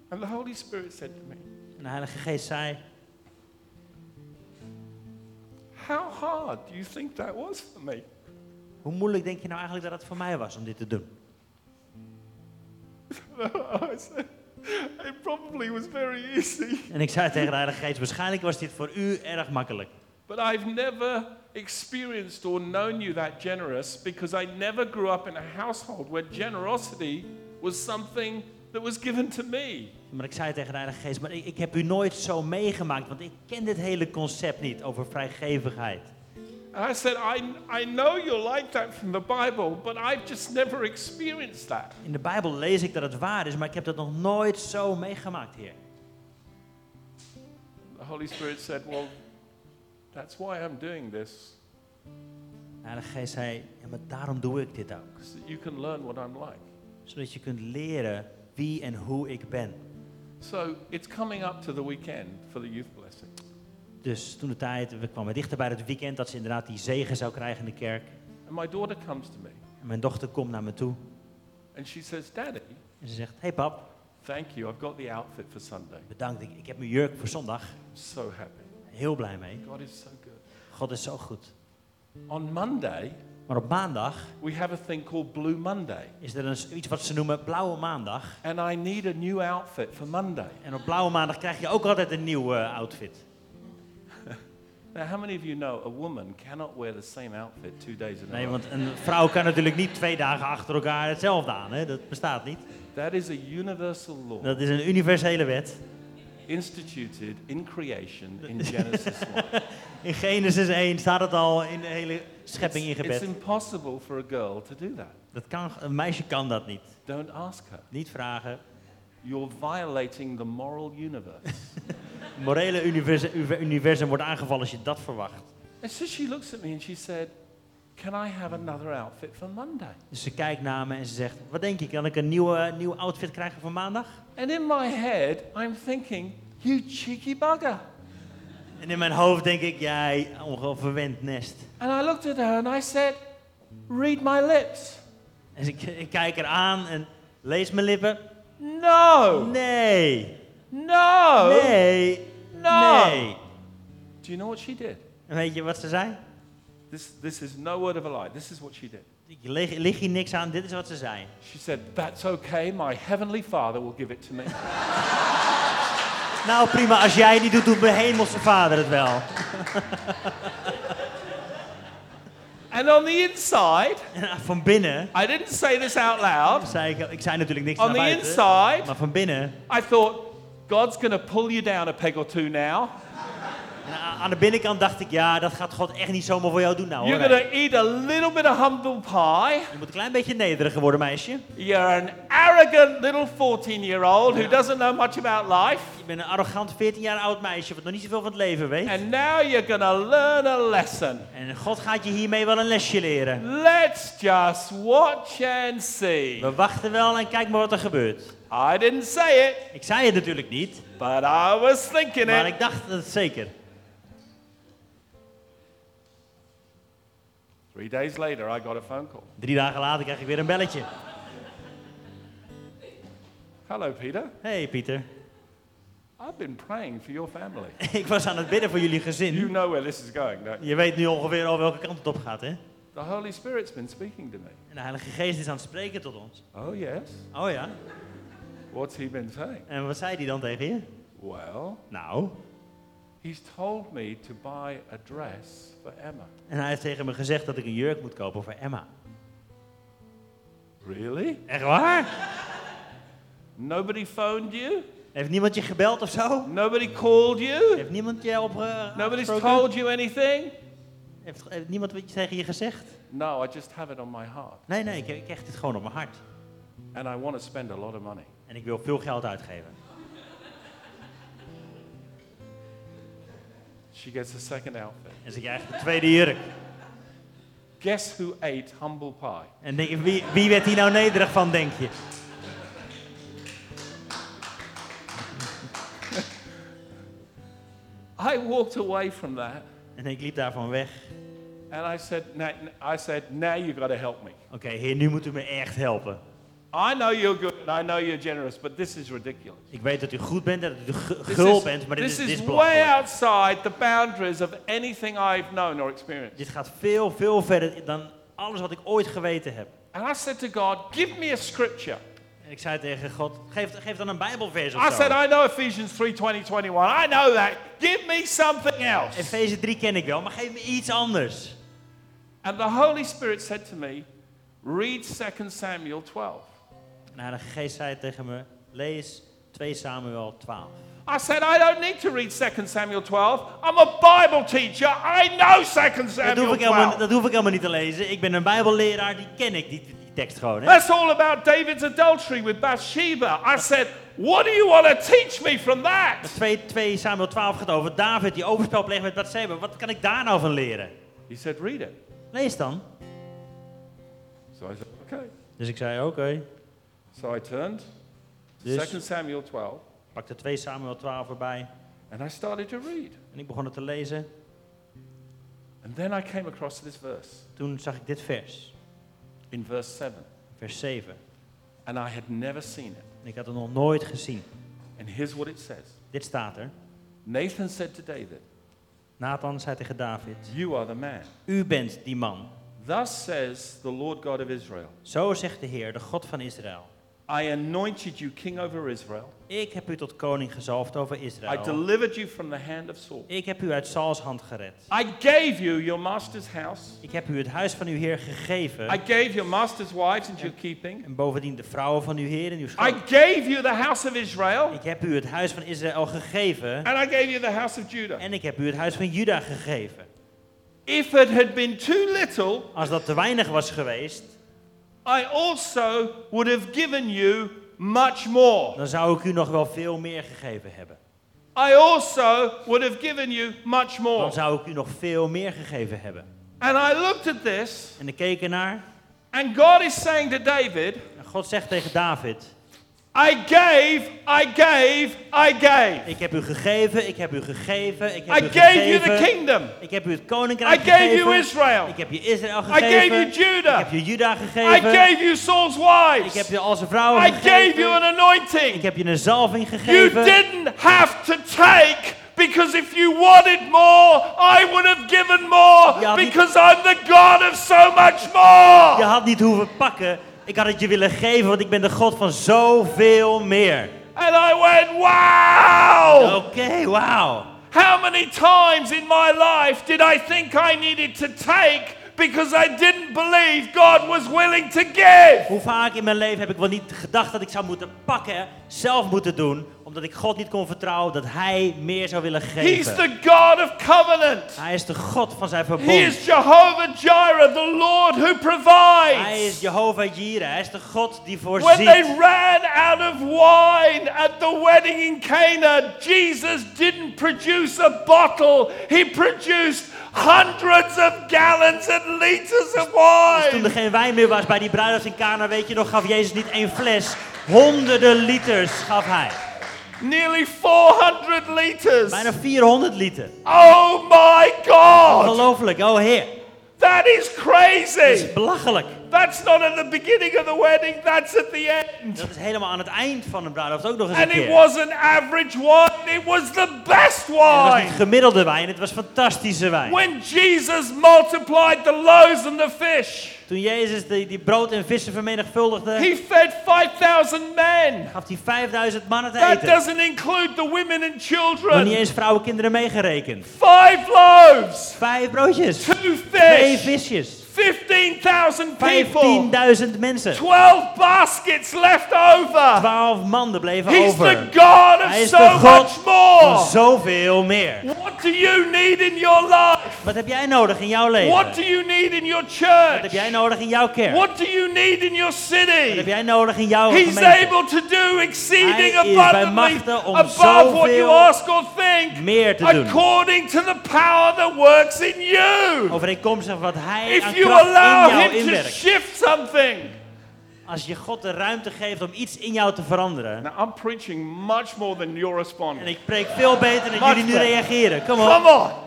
And the Holy Spirit said to me, En de Heilige Geest zei, How hard do you think that was for me? hoe moeilijk denk je nou eigenlijk dat het voor mij was om dit te doen? I said, It probably was very easy, En ik zei tegen de Heilige Geest, waarschijnlijk was dit voor u erg makkelijk. but I've never experienced or known you that generous because I never grew up in a household where generosity was something that was given to me. Maar ik zei tegen de Heilige Geest, maar ik, ik heb u nooit zo meegemaakt, want ik ken dit hele concept niet over vrijgevigheid. And I said, I, I know you're like that from the Bible, but I've just never experienced that. In de Bijbel lees ik dat het waar is, maar ik heb dat nog nooit zo meegemaakt, Heer. The Holy Spirit said, Well, that's why I'm doing this, De Heilige Geest zei, ja, maar daarom doe ik dit ook. so that you can learn what I'm like. Zodat je kunt leren wie en hoe ik ben. So it's coming up to the weekend for the youth blessing. Dus toen de tijd, we kwamen dichter bij het weekend dat ze inderdaad die zegen zou krijgen in de kerk. And my daughter comes to me En mijn dochter komt naar me toe and she says, Daddy, en ze zegt, hey pap, Thank you. I've got the outfit for Sunday. Bedankt, ik, ik heb mijn jurk voor zondag. I'm so happy. Heel blij mee. God is so good. God is zo goed. On Monday, Maar op maandag we have a thing called Blue Monday. is er een, iets wat ze noemen Blauwe Maandag. And I need a new outfit for Monday. En op Blauwe Maandag krijg je ook altijd een nieuw eh, outfit. Now, how many of you know a woman cannot wear the same outfit two days in a Nee, row? want een vrouw kan natuurlijk niet twee dagen achter elkaar hetzelfde aan. Hè? Dat bestaat niet. That is a universal law Dat is een universele wet. instituted in creation in Genesis 1. In Genesis 1 staat het al in de hele schepping It's, it's ingebed. impossible for a girl to do that. Dat kan, een meisje kan dat niet. Don't ask her. Niet vragen. You're violating the moral universe. Het morele universum, uver- universum wordt aangevallen als je dat verwacht. and so she looks at me and she said, Can I have another outfit for Monday? Dus ze kijkt naar me en ze zegt, wat denk je, kan ik een nieuwe, nieuw outfit krijgen voor maandag? And in my head, I'm thinking, You cheeky bugger. En in mijn hoofd denk ik, jij onverwend nest. And I looked at her and I said, Read my lips. En Dus ik, ik kijk haar aan en lees mijn lippen. No! Nee, No! nee, No! nee. Do you know what she did? En weet je wat ze zei? This, this is no word of a lie. This is what she did. Ik lig, lig hier niks aan, dit is wat ze zei. She said, That's okay. My heavenly father will give it to me. Nou prima, als jij het niet doet, doet mijn hemelse vader het wel. and on the inside, En ah, van binnen, I didn't say this out loud. zei ik, ik zei natuurlijk niks On naar the buiten. Oh, inside, Maar van binnen, I thought, God's going to pull you down a peg or two now. en a- aan de binnenkant dacht ik, ja, dat gaat God echt niet zomaar voor jou doen nou You're hoor. going to eat a little bit of humble pie. Je moet een klein beetje nederiger worden, meisje. You're an arrogant little 14 year old who doesn't know much about life. Je bent een arrogant 14 jaar oud meisje wat nog niet zoveel van het leven weet. And now you're going to learn a lesson. En God gaat je hiermee wel een lesje leren. Let's just watch and see. We wachten wel en kijk maar wat er gebeurt. I didn't say it, Ik zei het natuurlijk niet, but I was thinking maar it. ik dacht het zeker. Three days later, I got a phone call. Drie dagen later krijg ik weer een belletje. Hello, Peter. hey, Pieter, I've been praying for your family. ik was aan het bidden voor jullie You gezin. know where this is going, don't you? Je weet nu ongeveer al welke kant het op gaat, hè? The Holy Spirit's been speaking to me. En de Heilige Geest is aan het spreken tot ons. Oh, yes. Oh ja, What's he been saying? en wat zei die dan tegen je? Well, Nou, he's told me to buy a dress for Emma. en hij heeft tegen me gezegd dat ik een jurk moet kopen voor Emma. Really? Echt waar? Nobody phoned you? Heeft niemand je gebeld of zo? Nobody called you? Heeft niemand je op... eh, Nobody's aangesproken? told you anything? Heeft, heeft niemand wat je tegen je gezegd? No, I just have it on my heart. Nee, nee, ik, ik hecht dit gewoon op mijn hart. And I want to spend a lot of money. En ik wil veel geld uitgeven. She gets a second outfit. En ze krijgt de tweede jurk. Guess who ate humble pie? En denk je, wie, wie werd hier nou nederig van, denk je? I walked away from that En ik liep daarvan weg. and I said, "Na- I said, now you've got to help me. Oké, heer, nu moet u me echt helpen. I know you're good and I know you're generous, but this is ridiculous. Ik weet dat u goed bent en dat u gu- This gul is- bent, maar dit is, this dit is is way belachelijk. outside the boundaries of anything I've known or experienced. Dit gaat veel, veel verder dan alles wat ik ooit geweten heb. And I said to God, give me a scripture. En ik zei tegen God, geef, geef dan een bijbelvers of I said, zo. I know Ephesians 3 21. I know that. Give me something else. Efeze 3 ken ik wel, maar geef me iets anders. And the Holy Spirit said to me, read 2 Samuel 12. En de Heilige Geest zei tegen me, lees 2 Samuel 12. I said, I don't need to read 2 Samuel 12. I'm a Bible teacher. I know 2 Dat hoef, Samuel ik helemaal, 12. dat hoef ik helemaal niet te lezen. Ik ben een bijbelleraar, die ken ik, die, die tekst gewoon. Hè? That's all about David's adultery with Bathsheba. I said, What do you want to teach me from that? 2, 2 Samuel 12 gaat over David die overspel pleegt met Bathseba. Wat kan ik daar nou van leren? He said, Read it. Lees dan. So I said, Okay. Dus ik zei, oké. So I turned Dus 2 Samuel 12 ik pakte 2 Samuel 12 erbij and I started to read. en ik begon het te lezen. And then I came across this verse Toen zag ik dit vers, in verse 7. vers 7. and I had never seen it. En ik had het nog nooit gezien. And here's what it says Dit staat er. Nathan said to David, Nathan zei tegen David: You are the man. U bent die man. Thus says the Lord God of Israel Zo zegt de Heer, de God van Israël. I anointed you king over Israel, Ik heb u tot koning gezalfd over I Israël. delivered you from the hand of Saul. Ik heb u uit Sauls hand gered. I gave you your master's house. Ik heb u het huis van uw Heer gegeven. I gave your master's wives into your keeping. En bovendien de vrouwen van uw Heer en uw I schat. gave you the house of Israel. Ik heb u het huis van Israël gegeven. And I gave you the house of Judah. En ik heb u het huis van Juda gegeven. If it had been too little, Als dat te weinig was geweest, I also would have given you much more. dan zou ik u nog wel veel meer gegeven hebben. I also would have given you much more. Dan zou ik u nog veel meer gegeven hebben. And I looked at this, En ik keek ernaar. and God is saying to David, En God zegt tegen David: I gave, I gave, I gave. Ik heb u gegeven, ik heb u gegeven, ik heb I u gave you the gegeven. kingdom. Ik heb u het I koninkrijk gave you gegeven. Israel. Ik heb je Israël I gegeven. gave you Ik heb Judah. je Juda I gegeven. gave you Saul's Ik heb wives. je al zijn vrouwen I gegeven. gave you an Ik anointing. heb je een zalving You gegeven. didn't have to take because if you wanted more, I would have given more Ja, die- because I'm the God of so much Je more. had niet hoeven pakken. Ik had het je willen geven, want ik ben de God van zoveel meer. And I went, wow! Oh. Oké, wauw. How many times in my life did I think I needed to take because I didn't believe God was willing to give? Hoe vaak in mijn leven heb ik wel niet gedacht dat ik zou moeten pakken, zelf moeten doen, omdat ik God niet kon vertrouwen dat Hij meer zou willen He's geven. the God of covenant. Hij is de God van zijn He verbond. is Jehovah Jireh, the Lord who provides. Hij is Jehovah Jireh. Hij is de God die When they voorziet. ran out of wine at the wedding in Cana, Jesus didn't produce a bottle. He produced hundreds of gallons and liters of Toen er wine. geen wijn meer was bij die bruiloft in Cana, weet je nog, gaf Jezus niet één fles. Honderden liters gaf hij. Nearly 400 liters. Bijna 400 liter. Oh my God! Ongelooflijk, oh heer. That is Dat crazy. is belachelijk. That's not at the beginning of the wedding, that's at the end. Dat is helemaal aan het eind van een bruiloft ook nog eens een And it keer. Het wasn't average wine, it was the best was niet wine. gemiddelde wijn, het was fantastische wijn. When Jesus multiplied the loaves and the fish, Toen Jezus die, die brood en vissen vermenigvuldigde, he fed 5,000 men. gaf hij 5000 mannen te That eten. doesn't include the women and Nog niet children. eens vrouwen en kinderen meegerekend. Five loaves, Vijf broodjes, two twee fish, visjes, 15,000 people, 15.000 mensen. 12 baskets left over. 12 mannen bleven He's the over. God Hij of is so de God much van more. zoveel meer. What do you need in your life? Wat heb jij nodig in jouw leven? What Wat do you need in your church? heb jij nodig in jouw kerk? Wat What do you need in your heb city? jij nodig in jouw He's gemeente? able to do exceeding Hij is bij abundantly machten om above what you zoveel ask or think, Meer te doen. according to the power that works in you. Overeenkomstig wat hij aan If you kracht in allow jou Him to inwerkt. shift something. Als je God de ruimte geeft om iets in jou te veranderen. Now I'm preaching much more than you're En responding. ik preek veel beter dan jullie nu Master. reageren. Kom Come op. on.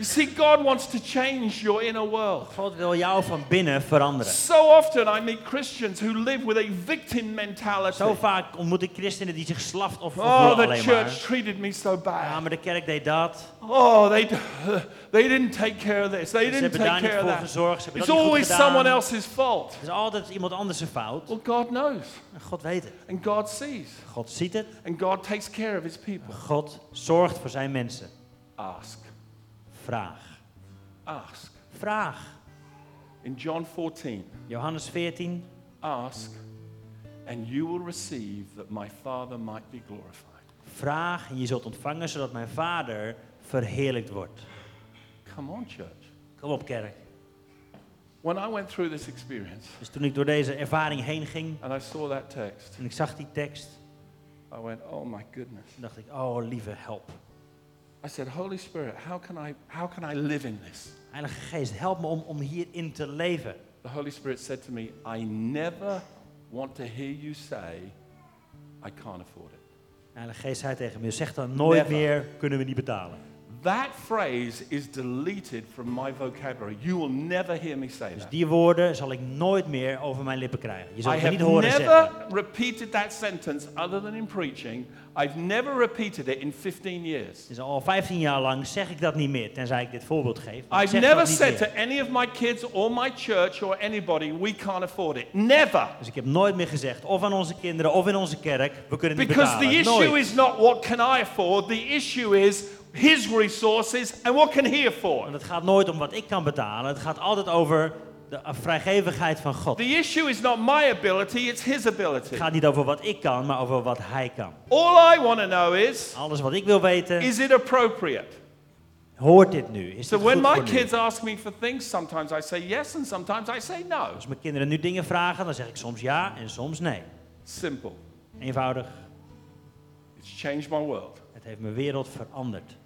You see, God wants to change your inner world. God wil jou van binnen veranderen. So often I meet Christians who live with a victim mentality. Zo vaak ontmoet ik christenen die zich slachtoffer Oh, voelen the alleen maar. church treated me so Ja, bad. maar de kerk deed dat. Oh, they, they didn't take care of this. They Ze didn't hebben daar take niet care of voor that. gezorgd. Ze hebben It's dat niet goed always someone gedaan. else's fault. Het is altijd iemand anders zijn fout. Well, God knows, En God weet het. and God sees, God ziet het. and God takes care of his people. God zorgt voor zijn mensen. Ask. Vraag. Ask. Vraag. In John 14, Johannes 14. ask, and you will receive that my Father might be glorified. Vraag en je zult ontvangen zodat mijn vader verheerlijkt wordt. Come on, church. Kom op, kerk. When I went through this experience Dus toen ik door deze ervaring heen ging and I saw that text, en ik zag die tekst, I went, oh my goodness. toen dacht ik, oh lieve help. I said, Holy Spirit, how can I, how can I live in this? Heilige Geest, help me om, om hierin te leven. The Holy Spirit said to me, I never want to hear you say, I can't afford it. De Heilige Geest zei tegen me, zeg dan nooit Never. meer, kunnen we niet betalen. That phrase is deleted from my vocabulary. You will never hear me say Dus that. die woorden zal ik nooit meer over mijn lippen krijgen. Je zult I het me have niet horen never zeggen. repeated that sentence other than in preaching. I've never repeated it in 15 years. Dus al 15 jaar lang zeg ik dat niet meer, tenzij ik dit voorbeeld geef. Maar ik I've zeg never dat niet said meer. to any of my kids or my church or anybody, we can't afford it. Never. Dus ik heb nooit meer gezegd, of aan onze kinderen of in onze kerk, we kunnen niet Because betalen. the issue Nooit. is not what can I afford, the issue is his resources and what can he afford. Want het gaat nooit om wat ik kan betalen. Het gaat altijd over de eh, vrijgevigheid van God. The issue is not my ability, it's his ability. Het gaat niet over wat ik kan, maar over wat Hij kan. All I want to know is Alles wat ik wil weten, is it appropriate? hoort dit nu? Is So dit when goed my voor nu? kids ask me for things, sometimes I say yes and sometimes I say no. Als mijn kinderen nu dingen vragen, dan zeg ik soms ja en soms nee. Simple. Eenvoudig. It's changed my world. Het heeft mijn wereld veranderd.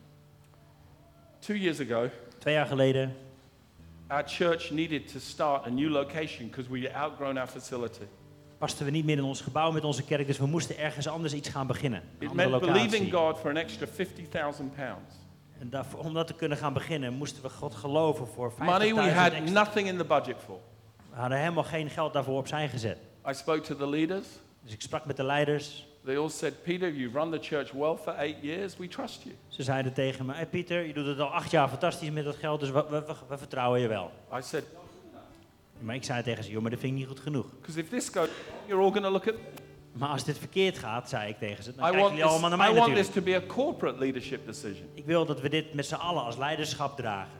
Two years ago, Twee jaar geleden our church needed to start a new location because we had outgrown our facility. pasten we niet meer in ons gebouw met onze kerk, dus we moesten ergens anders iets gaan beginnen. Een It andere meant locatie. believing God for an extra 50,000 pounds. En daarvoor, om dat te kunnen gaan beginnen, moesten we God geloven voor 50.000 Money we had extra. nothing in the budget for. We hadden helemaal geen geld daarvoor opzij gezet. I spoke to the leaders. Dus ik sprak met de leiders. They all said, Peter, you've run the church well for eight years. We trust you. Ze zeiden tegen me, hey Pieter, je doet het al acht jaar fantastisch met dat geld, dus we, we- we- we vertrouwen je wel. I said, Maar ik zei tegen ze, joh, maar dat vind ik niet goed genoeg. because if this goes, you're all going to look at. Maar als dit verkeerd gaat, zei ik tegen ze, dan I kijken want, jullie allemaal this, naar I mij want this natuurlijk. to be a corporate leadership decision. Ik wil dat we dit met z'n allen als leiderschap dragen.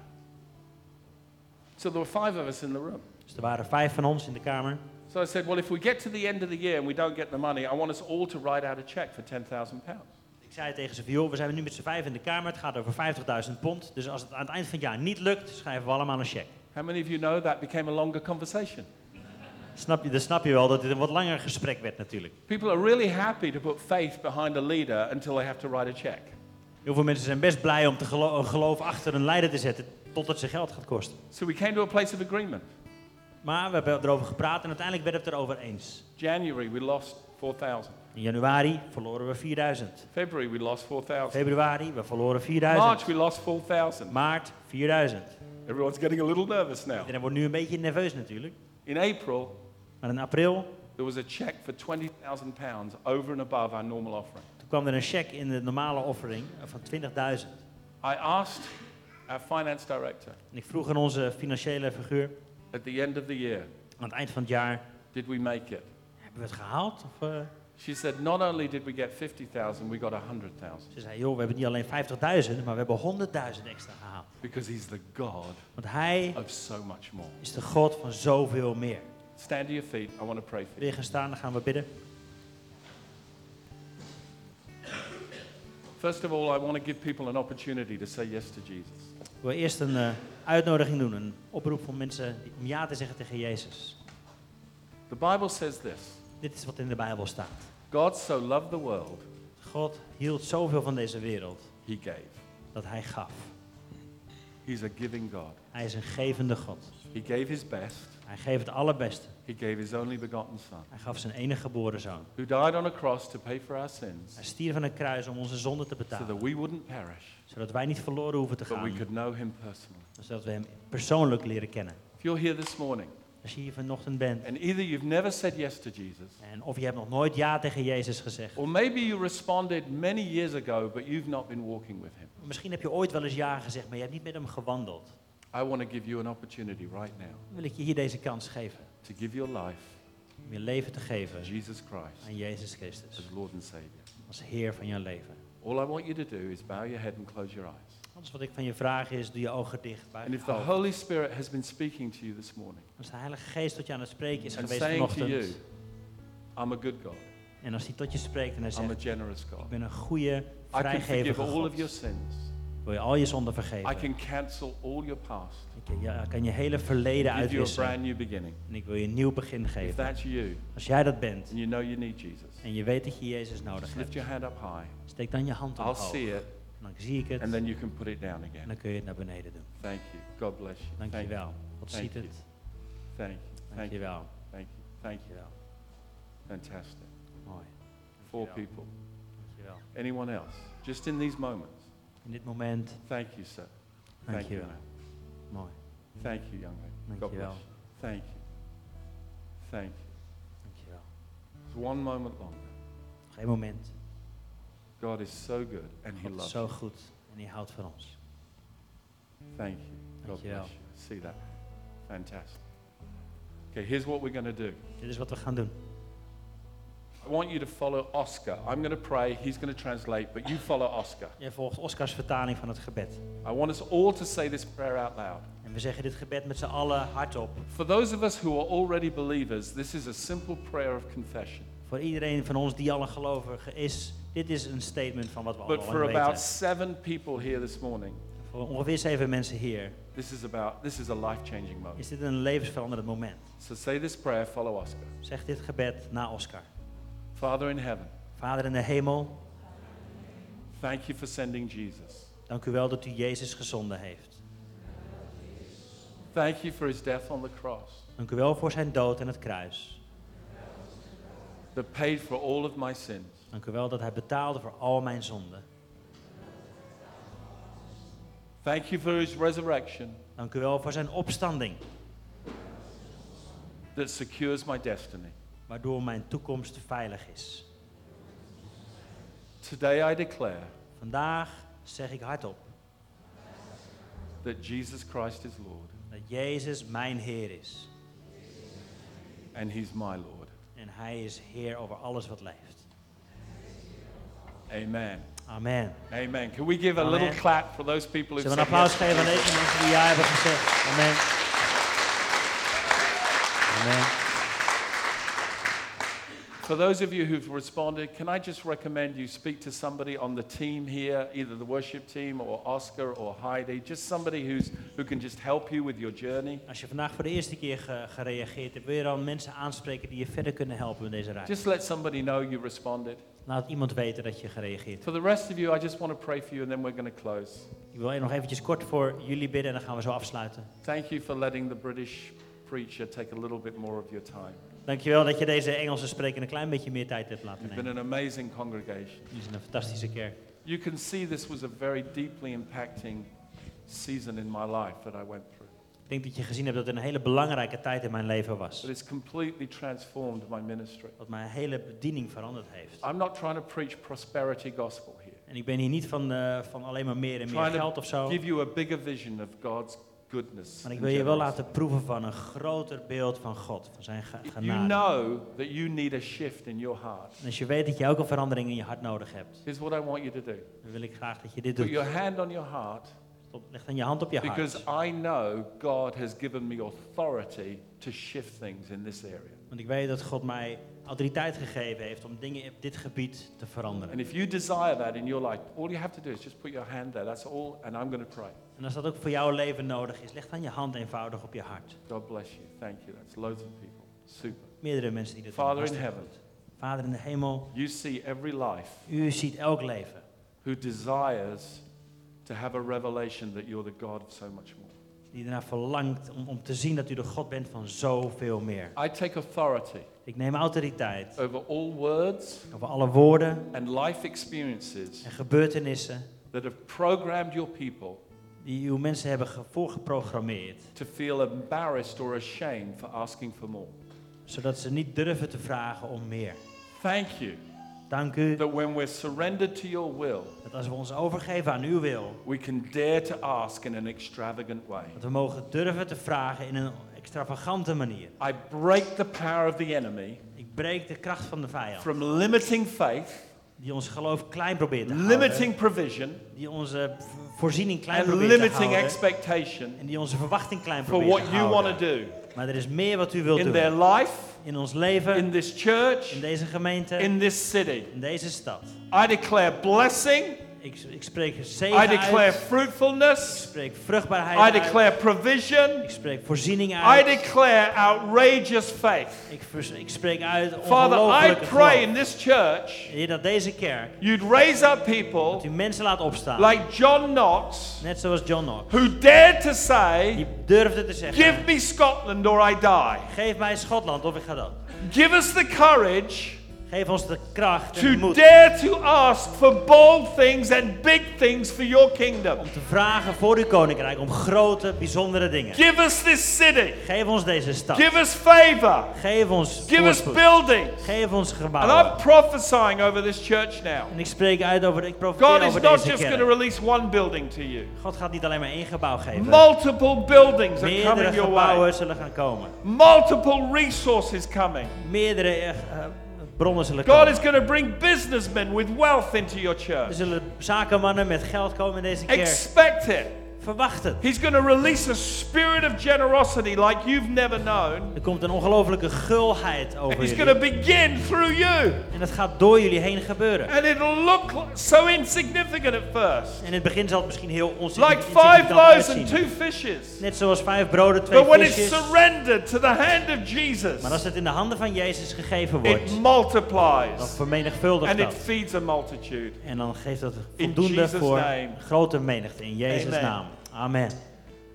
So there were five of us in the room. Dus er waren vijf van ons in de kamer. So I said, well, if we get to the end of the year and we don't get the money, I want us all to write out a check for ten thousand pounds. Ik zei tegen ze van, joh, we zijn nu met z'n vijf in de kamer, het gaat over 50.000 pond. Dus als het aan het eind van het jaar niet lukt, schrijven we allemaal een cheque. How many of you know that became a longer conversation? Snap je, dan snap je wel dat dit een wat langer gesprek werd natuurlijk. People are really happy to put faith behind a leader until they have to write a check. Heel veel mensen zijn best blij om te gelo- een geloof achter een leider te zetten, totdat ze geld gaat kosten. So we came to a place of agreement. Maar we hebben erover gepraat en uiteindelijk werden we het erover eens. January we lost four thousand. In januari verloren we 4000. February we lost four thousand. Februari, we verloren 4000. March we lost four thousand. Maart, 4000. Everyone's getting a little nervous now. Iedereen wordt nu een beetje nerveus natuurlijk. In April Maar in april, there was a check for twenty thousand pounds over and above our normal offering. toen kwam er een cheque in de normale offering van 20.000. I asked our finance director En ik vroeg aan onze financiële figuur, at the end of the year, aan het eind van het jaar, did we make it? hebben we het gehaald? Of, eh?" She said, not only did we get 50,000, we got 100,000 Ze zei, joh, we hebben niet alleen 50.000, maar we hebben 100.000 extra gehaald. because he's the God Want hij of so much more. is de God van zoveel meer. Stand to your feet. I want to pray for you. Wil je gaan staan, dan gaan we bidden. First of all, I want to give people an opportunity to say yes to Jesus. Ik wil eerst een eh, uitnodiging doen, een oproep van mensen die- om ja te zeggen tegen Jezus. The Bible says this Dit is wat in de Bijbel staat. God so loved the world, God hield zoveel van deze wereld he gave. dat hij gaf. He's a giving God. Hij is een gevende God. He gave his best, Hij geeft het allerbeste. he gave his only begotten Son, Hij gaf zijn enige geboren zoon. who died on a cross to pay for our sins Hij stierf aan een kruis om onze zonde te so that betalen. we wouldn't perish, Zodat wij niet verloren hoeven te but we gaan. could know him personally. maar Zodat we hem persoonlijk leren kennen. If you're here this morning Als je hier vanochtend bent. and either you've never said yes to Jesus, En of je hebt nog nooit ja tegen Jezus gezegd. Or maybe you responded many years ago, but you've not been walking with him. Misschien heb je ooit wel eens ja gezegd, maar je hebt niet met hem gewandeld. I want to give you an opportunity right now Dan wil ik je hier deze kans geven. to give your life Om je leven te to geven Jesus Christ aan Jezus Christus. as Lord and Savior. Als Heer van jouw leven. All I want you to do is bow your head and close your eyes. Alles wat ik van je vraag is, doe je ogen dicht. buig And je if the hoofd. Holy Spirit has been speaking to you this morning Als de Heilige Geest tot je aan het spreken is and geweest saying to you, vanochtend. I'm a good God, En als hij tot je spreekt en hij I'm a zegt, generous ik God, ben een goede, I can vrijgevige forgive all God. of your sins, Wil je al je zonden I vergeven? can cancel all your past, Ik kan je- ja, ik kan je hele verleden give you a uitwissen. brand new beginning. En ik wil je een nieuw begin If geven. that's you Als jij dat bent and you know you need Jesus, en je weet dat je Jezus nodig just hebt, lift your hand up high. steek dan je hand I'll omhoog. see it En dan zie ik het and en then you can put it down again. dan kun je het naar beneden doen. Thank you. God bless you. Thank you. Dankjewel. God Thank ziet you. het. Thank you. Thank you. Dankjewel. Thank you. Thank you. Dankjewel. Fantastic. Mooi. Four Dankjewel. people. Dankjewel. Anyone else? Just in these moments. in dit moment. Thank you, sir. Dank je you. wel. Mooi. Anna. Thank you, young lady. Dank God je wel. bless you. Thank you. Thank you. Dank je wel. It's one moment longer. Nog één moment. God is so good and He God is loves zo you. goed en hij houdt van ons. Thank you. God Dank je wel. bless you. See that? Fantastic. Okay, here's what we're going to do. Dit is wat we gaan doen. I want you to follow Oscar. I'm going to pray. He's going to translate, but you follow Oscar. Jij volgt Oscars vertaling van het gebed. I want us all to say this prayer out loud. En we zeggen dit gebed met z'n allen hardop. For those of us who are already believers, this is a simple prayer of confession. Voor iedereen van ons die al een gelovige is, dit is een statement van wat we But allemaal for al lang about weten. seven people here this morning, Voor ongeveer zeven mensen hier this is about this is a life-changing moment. is dit een levensveranderend moment. So say this prayer, follow Oscar. Zeg dit gebed na Oscar. Father in heaven, Vader in de hemel, thank you for sending Jesus. dank u wel dat u Jezus gezonden heeft. Thank you for his death on the cross Dank u wel voor zijn dood en het kruis. that paid for all of my sins. Dank u wel dat hij betaalde voor al mijn zonden. Thank you for his resurrection Dank u wel voor zijn opstanding, that secures my destiny. waardoor mijn toekomst veilig is. Today I declare Vandaag zeg ik hardop that Jesus Christ is Lord dat Jezus mijn Heer is. and he's my Lord. En hij is Heer over alles wat leeft. Amen. Amen. Amen. Can we give a little Amen. clap for those people who Zullen we een applaus geven aan deze mensen die ja hebben gezegd? Amen. Amen. For those of you who've responded, can I just recommend you speak to somebody on the team here, either the worship team or Oscar or Heidi, just somebody who's, who can just help you with your journey. Als je vandaag voor de eerste keer ge- gereageerd hebt, wil je dan mensen aanspreken die je verder kunnen helpen in deze reis? Just let somebody know you responded. Laat iemand weten dat je gereageerd hebt. For the rest of you, I just want to pray for you and then we're going to close. Ik wil nog eventjes kort voor jullie bidden en dan gaan we zo afsluiten. Thank you for letting the British preacher take a little bit more of your time. Dankjewel dat je deze Engelse spreker een klein beetje meer tijd hebt laten You've been nemen. an amazing congregation. Jullie zijn een fantastische kerk. You can see this was a very deeply impacting season in my life that I went through. Ik denk dat je gezien hebt dat het een hele belangrijke tijd in mijn leven was. But it's completely transformed my ministry. Wat mijn hele bediening veranderd heeft. I'm not trying to preach prosperity gospel here. En ik ben hier niet van, eh, van alleen maar meer en meer Trying to geld of zo. Give you a bigger vision of God's goodness. Maar ik and wil je wel generosity. laten proeven van een groter beeld van God, van zijn ge- You genade. know that you need a shift in your heart. En als je weet dat je ook een verandering in je hart nodig hebt, Here's what I want you to do. dan wil ik graag dat je dit Put your doet. hand on your heart Stop- Leg dan je hand op je because hart. I know God has given me authority to shift things in this area. Want ik weet dat God mij autoriteit gegeven heeft om dingen op dit gebied te veranderen. And if you desire that in your life, all you have to do is just put your hand there. That's all. And I'm going to pray. En als dat ook voor jouw leven nodig is, leg dan je hand eenvoudig op je hart. God bless you. Thank you. That's loads of people. Super. Meerdere mensen die dit Father doen, in hartstikke heaven. goed. Vader in de hemel, You see every life u ziet elk leven who desires to have a revelation that you're the God of so much more. die ernaar verlangt om, om te zien dat u de God bent van zoveel meer. I take authority Ik neem autoriteit over all words over alle woorden and life experiences en gebeurtenissen that have programmed your people die uw mensen hebben ge- voorgeprogrammeerd, to feel embarrassed or ashamed for asking for more. zodat ze niet durven te vragen om meer. Thank you Dank u that when we're surrendered to your will, dat als we ons overgeven aan uw wil, we can dare to ask in an extravagant way. dat we mogen durven te vragen in een extravagante manier. I break the power of the enemy Ik breek de kracht van de vijand from limiting faith, die ons geloof klein probeert te houden, limiting provision, die onze v- voorziening klein and probeert te limiting houden expectation en die onze verwachting klein for probeert what te you want houden. to do. Maar er is meer wat u wilt in their doen life, in ons leven, in this Uh-huh. in Mm-hmm. church, deze gemeente, in this city. in deze stad. I declare blessing. Ik, ik spreek zegen I declare uit. Ik fruitfulness. spreek vruchtbaarheid I uit. declare provision. Ik spreek voorziening I uit. declare outrageous faith. ik, vers- ik spreek uit Father, I ongelooflijke pray geloof. in this church Heer, dat deze kerk, you'd raise up dat people u mensen laat opstaan. like John Knox net zoals John Knox. who dared to say, Die durfde te zeggen, Give me Scotland or I die. geef mij Schotland of ik ga dood. Give us the courage Geef ons de kracht en de to moed dare to ask for bold things and big things for your kingdom. om te vragen voor uw koninkrijk om grote, bijzondere dingen. Give us this city. Geef ons deze stad. Give us favor. Geef ons Give us voorspoed. buildings. Geef ons And gebouwen. I'm prophesying over this church now. En ik spreek uit over, ik profiteer God is over not deze just going to kerk. release one building to you. God gaat niet alleen maar één gebouw geven. Multiple buildings are Meerdere coming your way. gebouwen zullen gaan komen. Multiple resources coming. Meerdere eh, eh, bronnen zullen God komen. is going to bring businessmen with wealth into your Er church. zullen zakenmannen met geld komen in deze kerk. Expect it. Verwacht het. He's going to release a spirit of generosity like you've never known. Er komt een ongelofelijke gulheid over He's jullie. going to begin through you. En dat gaat door jullie heen gebeuren. And it'll look li- so insignificant at first. En in het begin zal het misschien heel onzeker Like five loaves and uitzien. two fishes. Net zoals vijf broden, twee But when it's visjes. surrendered to the hand of Jesus, Maar als het in de handen van Jezus gegeven wordt, it dan multiplies vermenigvuldigt and it dat. feeds a multitude. En dan geeft dat In voldoende Jesus' voor name. een grote menigte. In Jezus' Amen. naam. Amen.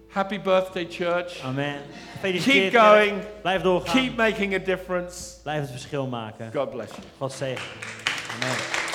Happy birthday, church. Amen. Gefeliciteerd. Keep kerk. going. Blijf doorgaan. Keep making a difference. Blijf het verschil maken. God bless you. God zegen. Amen.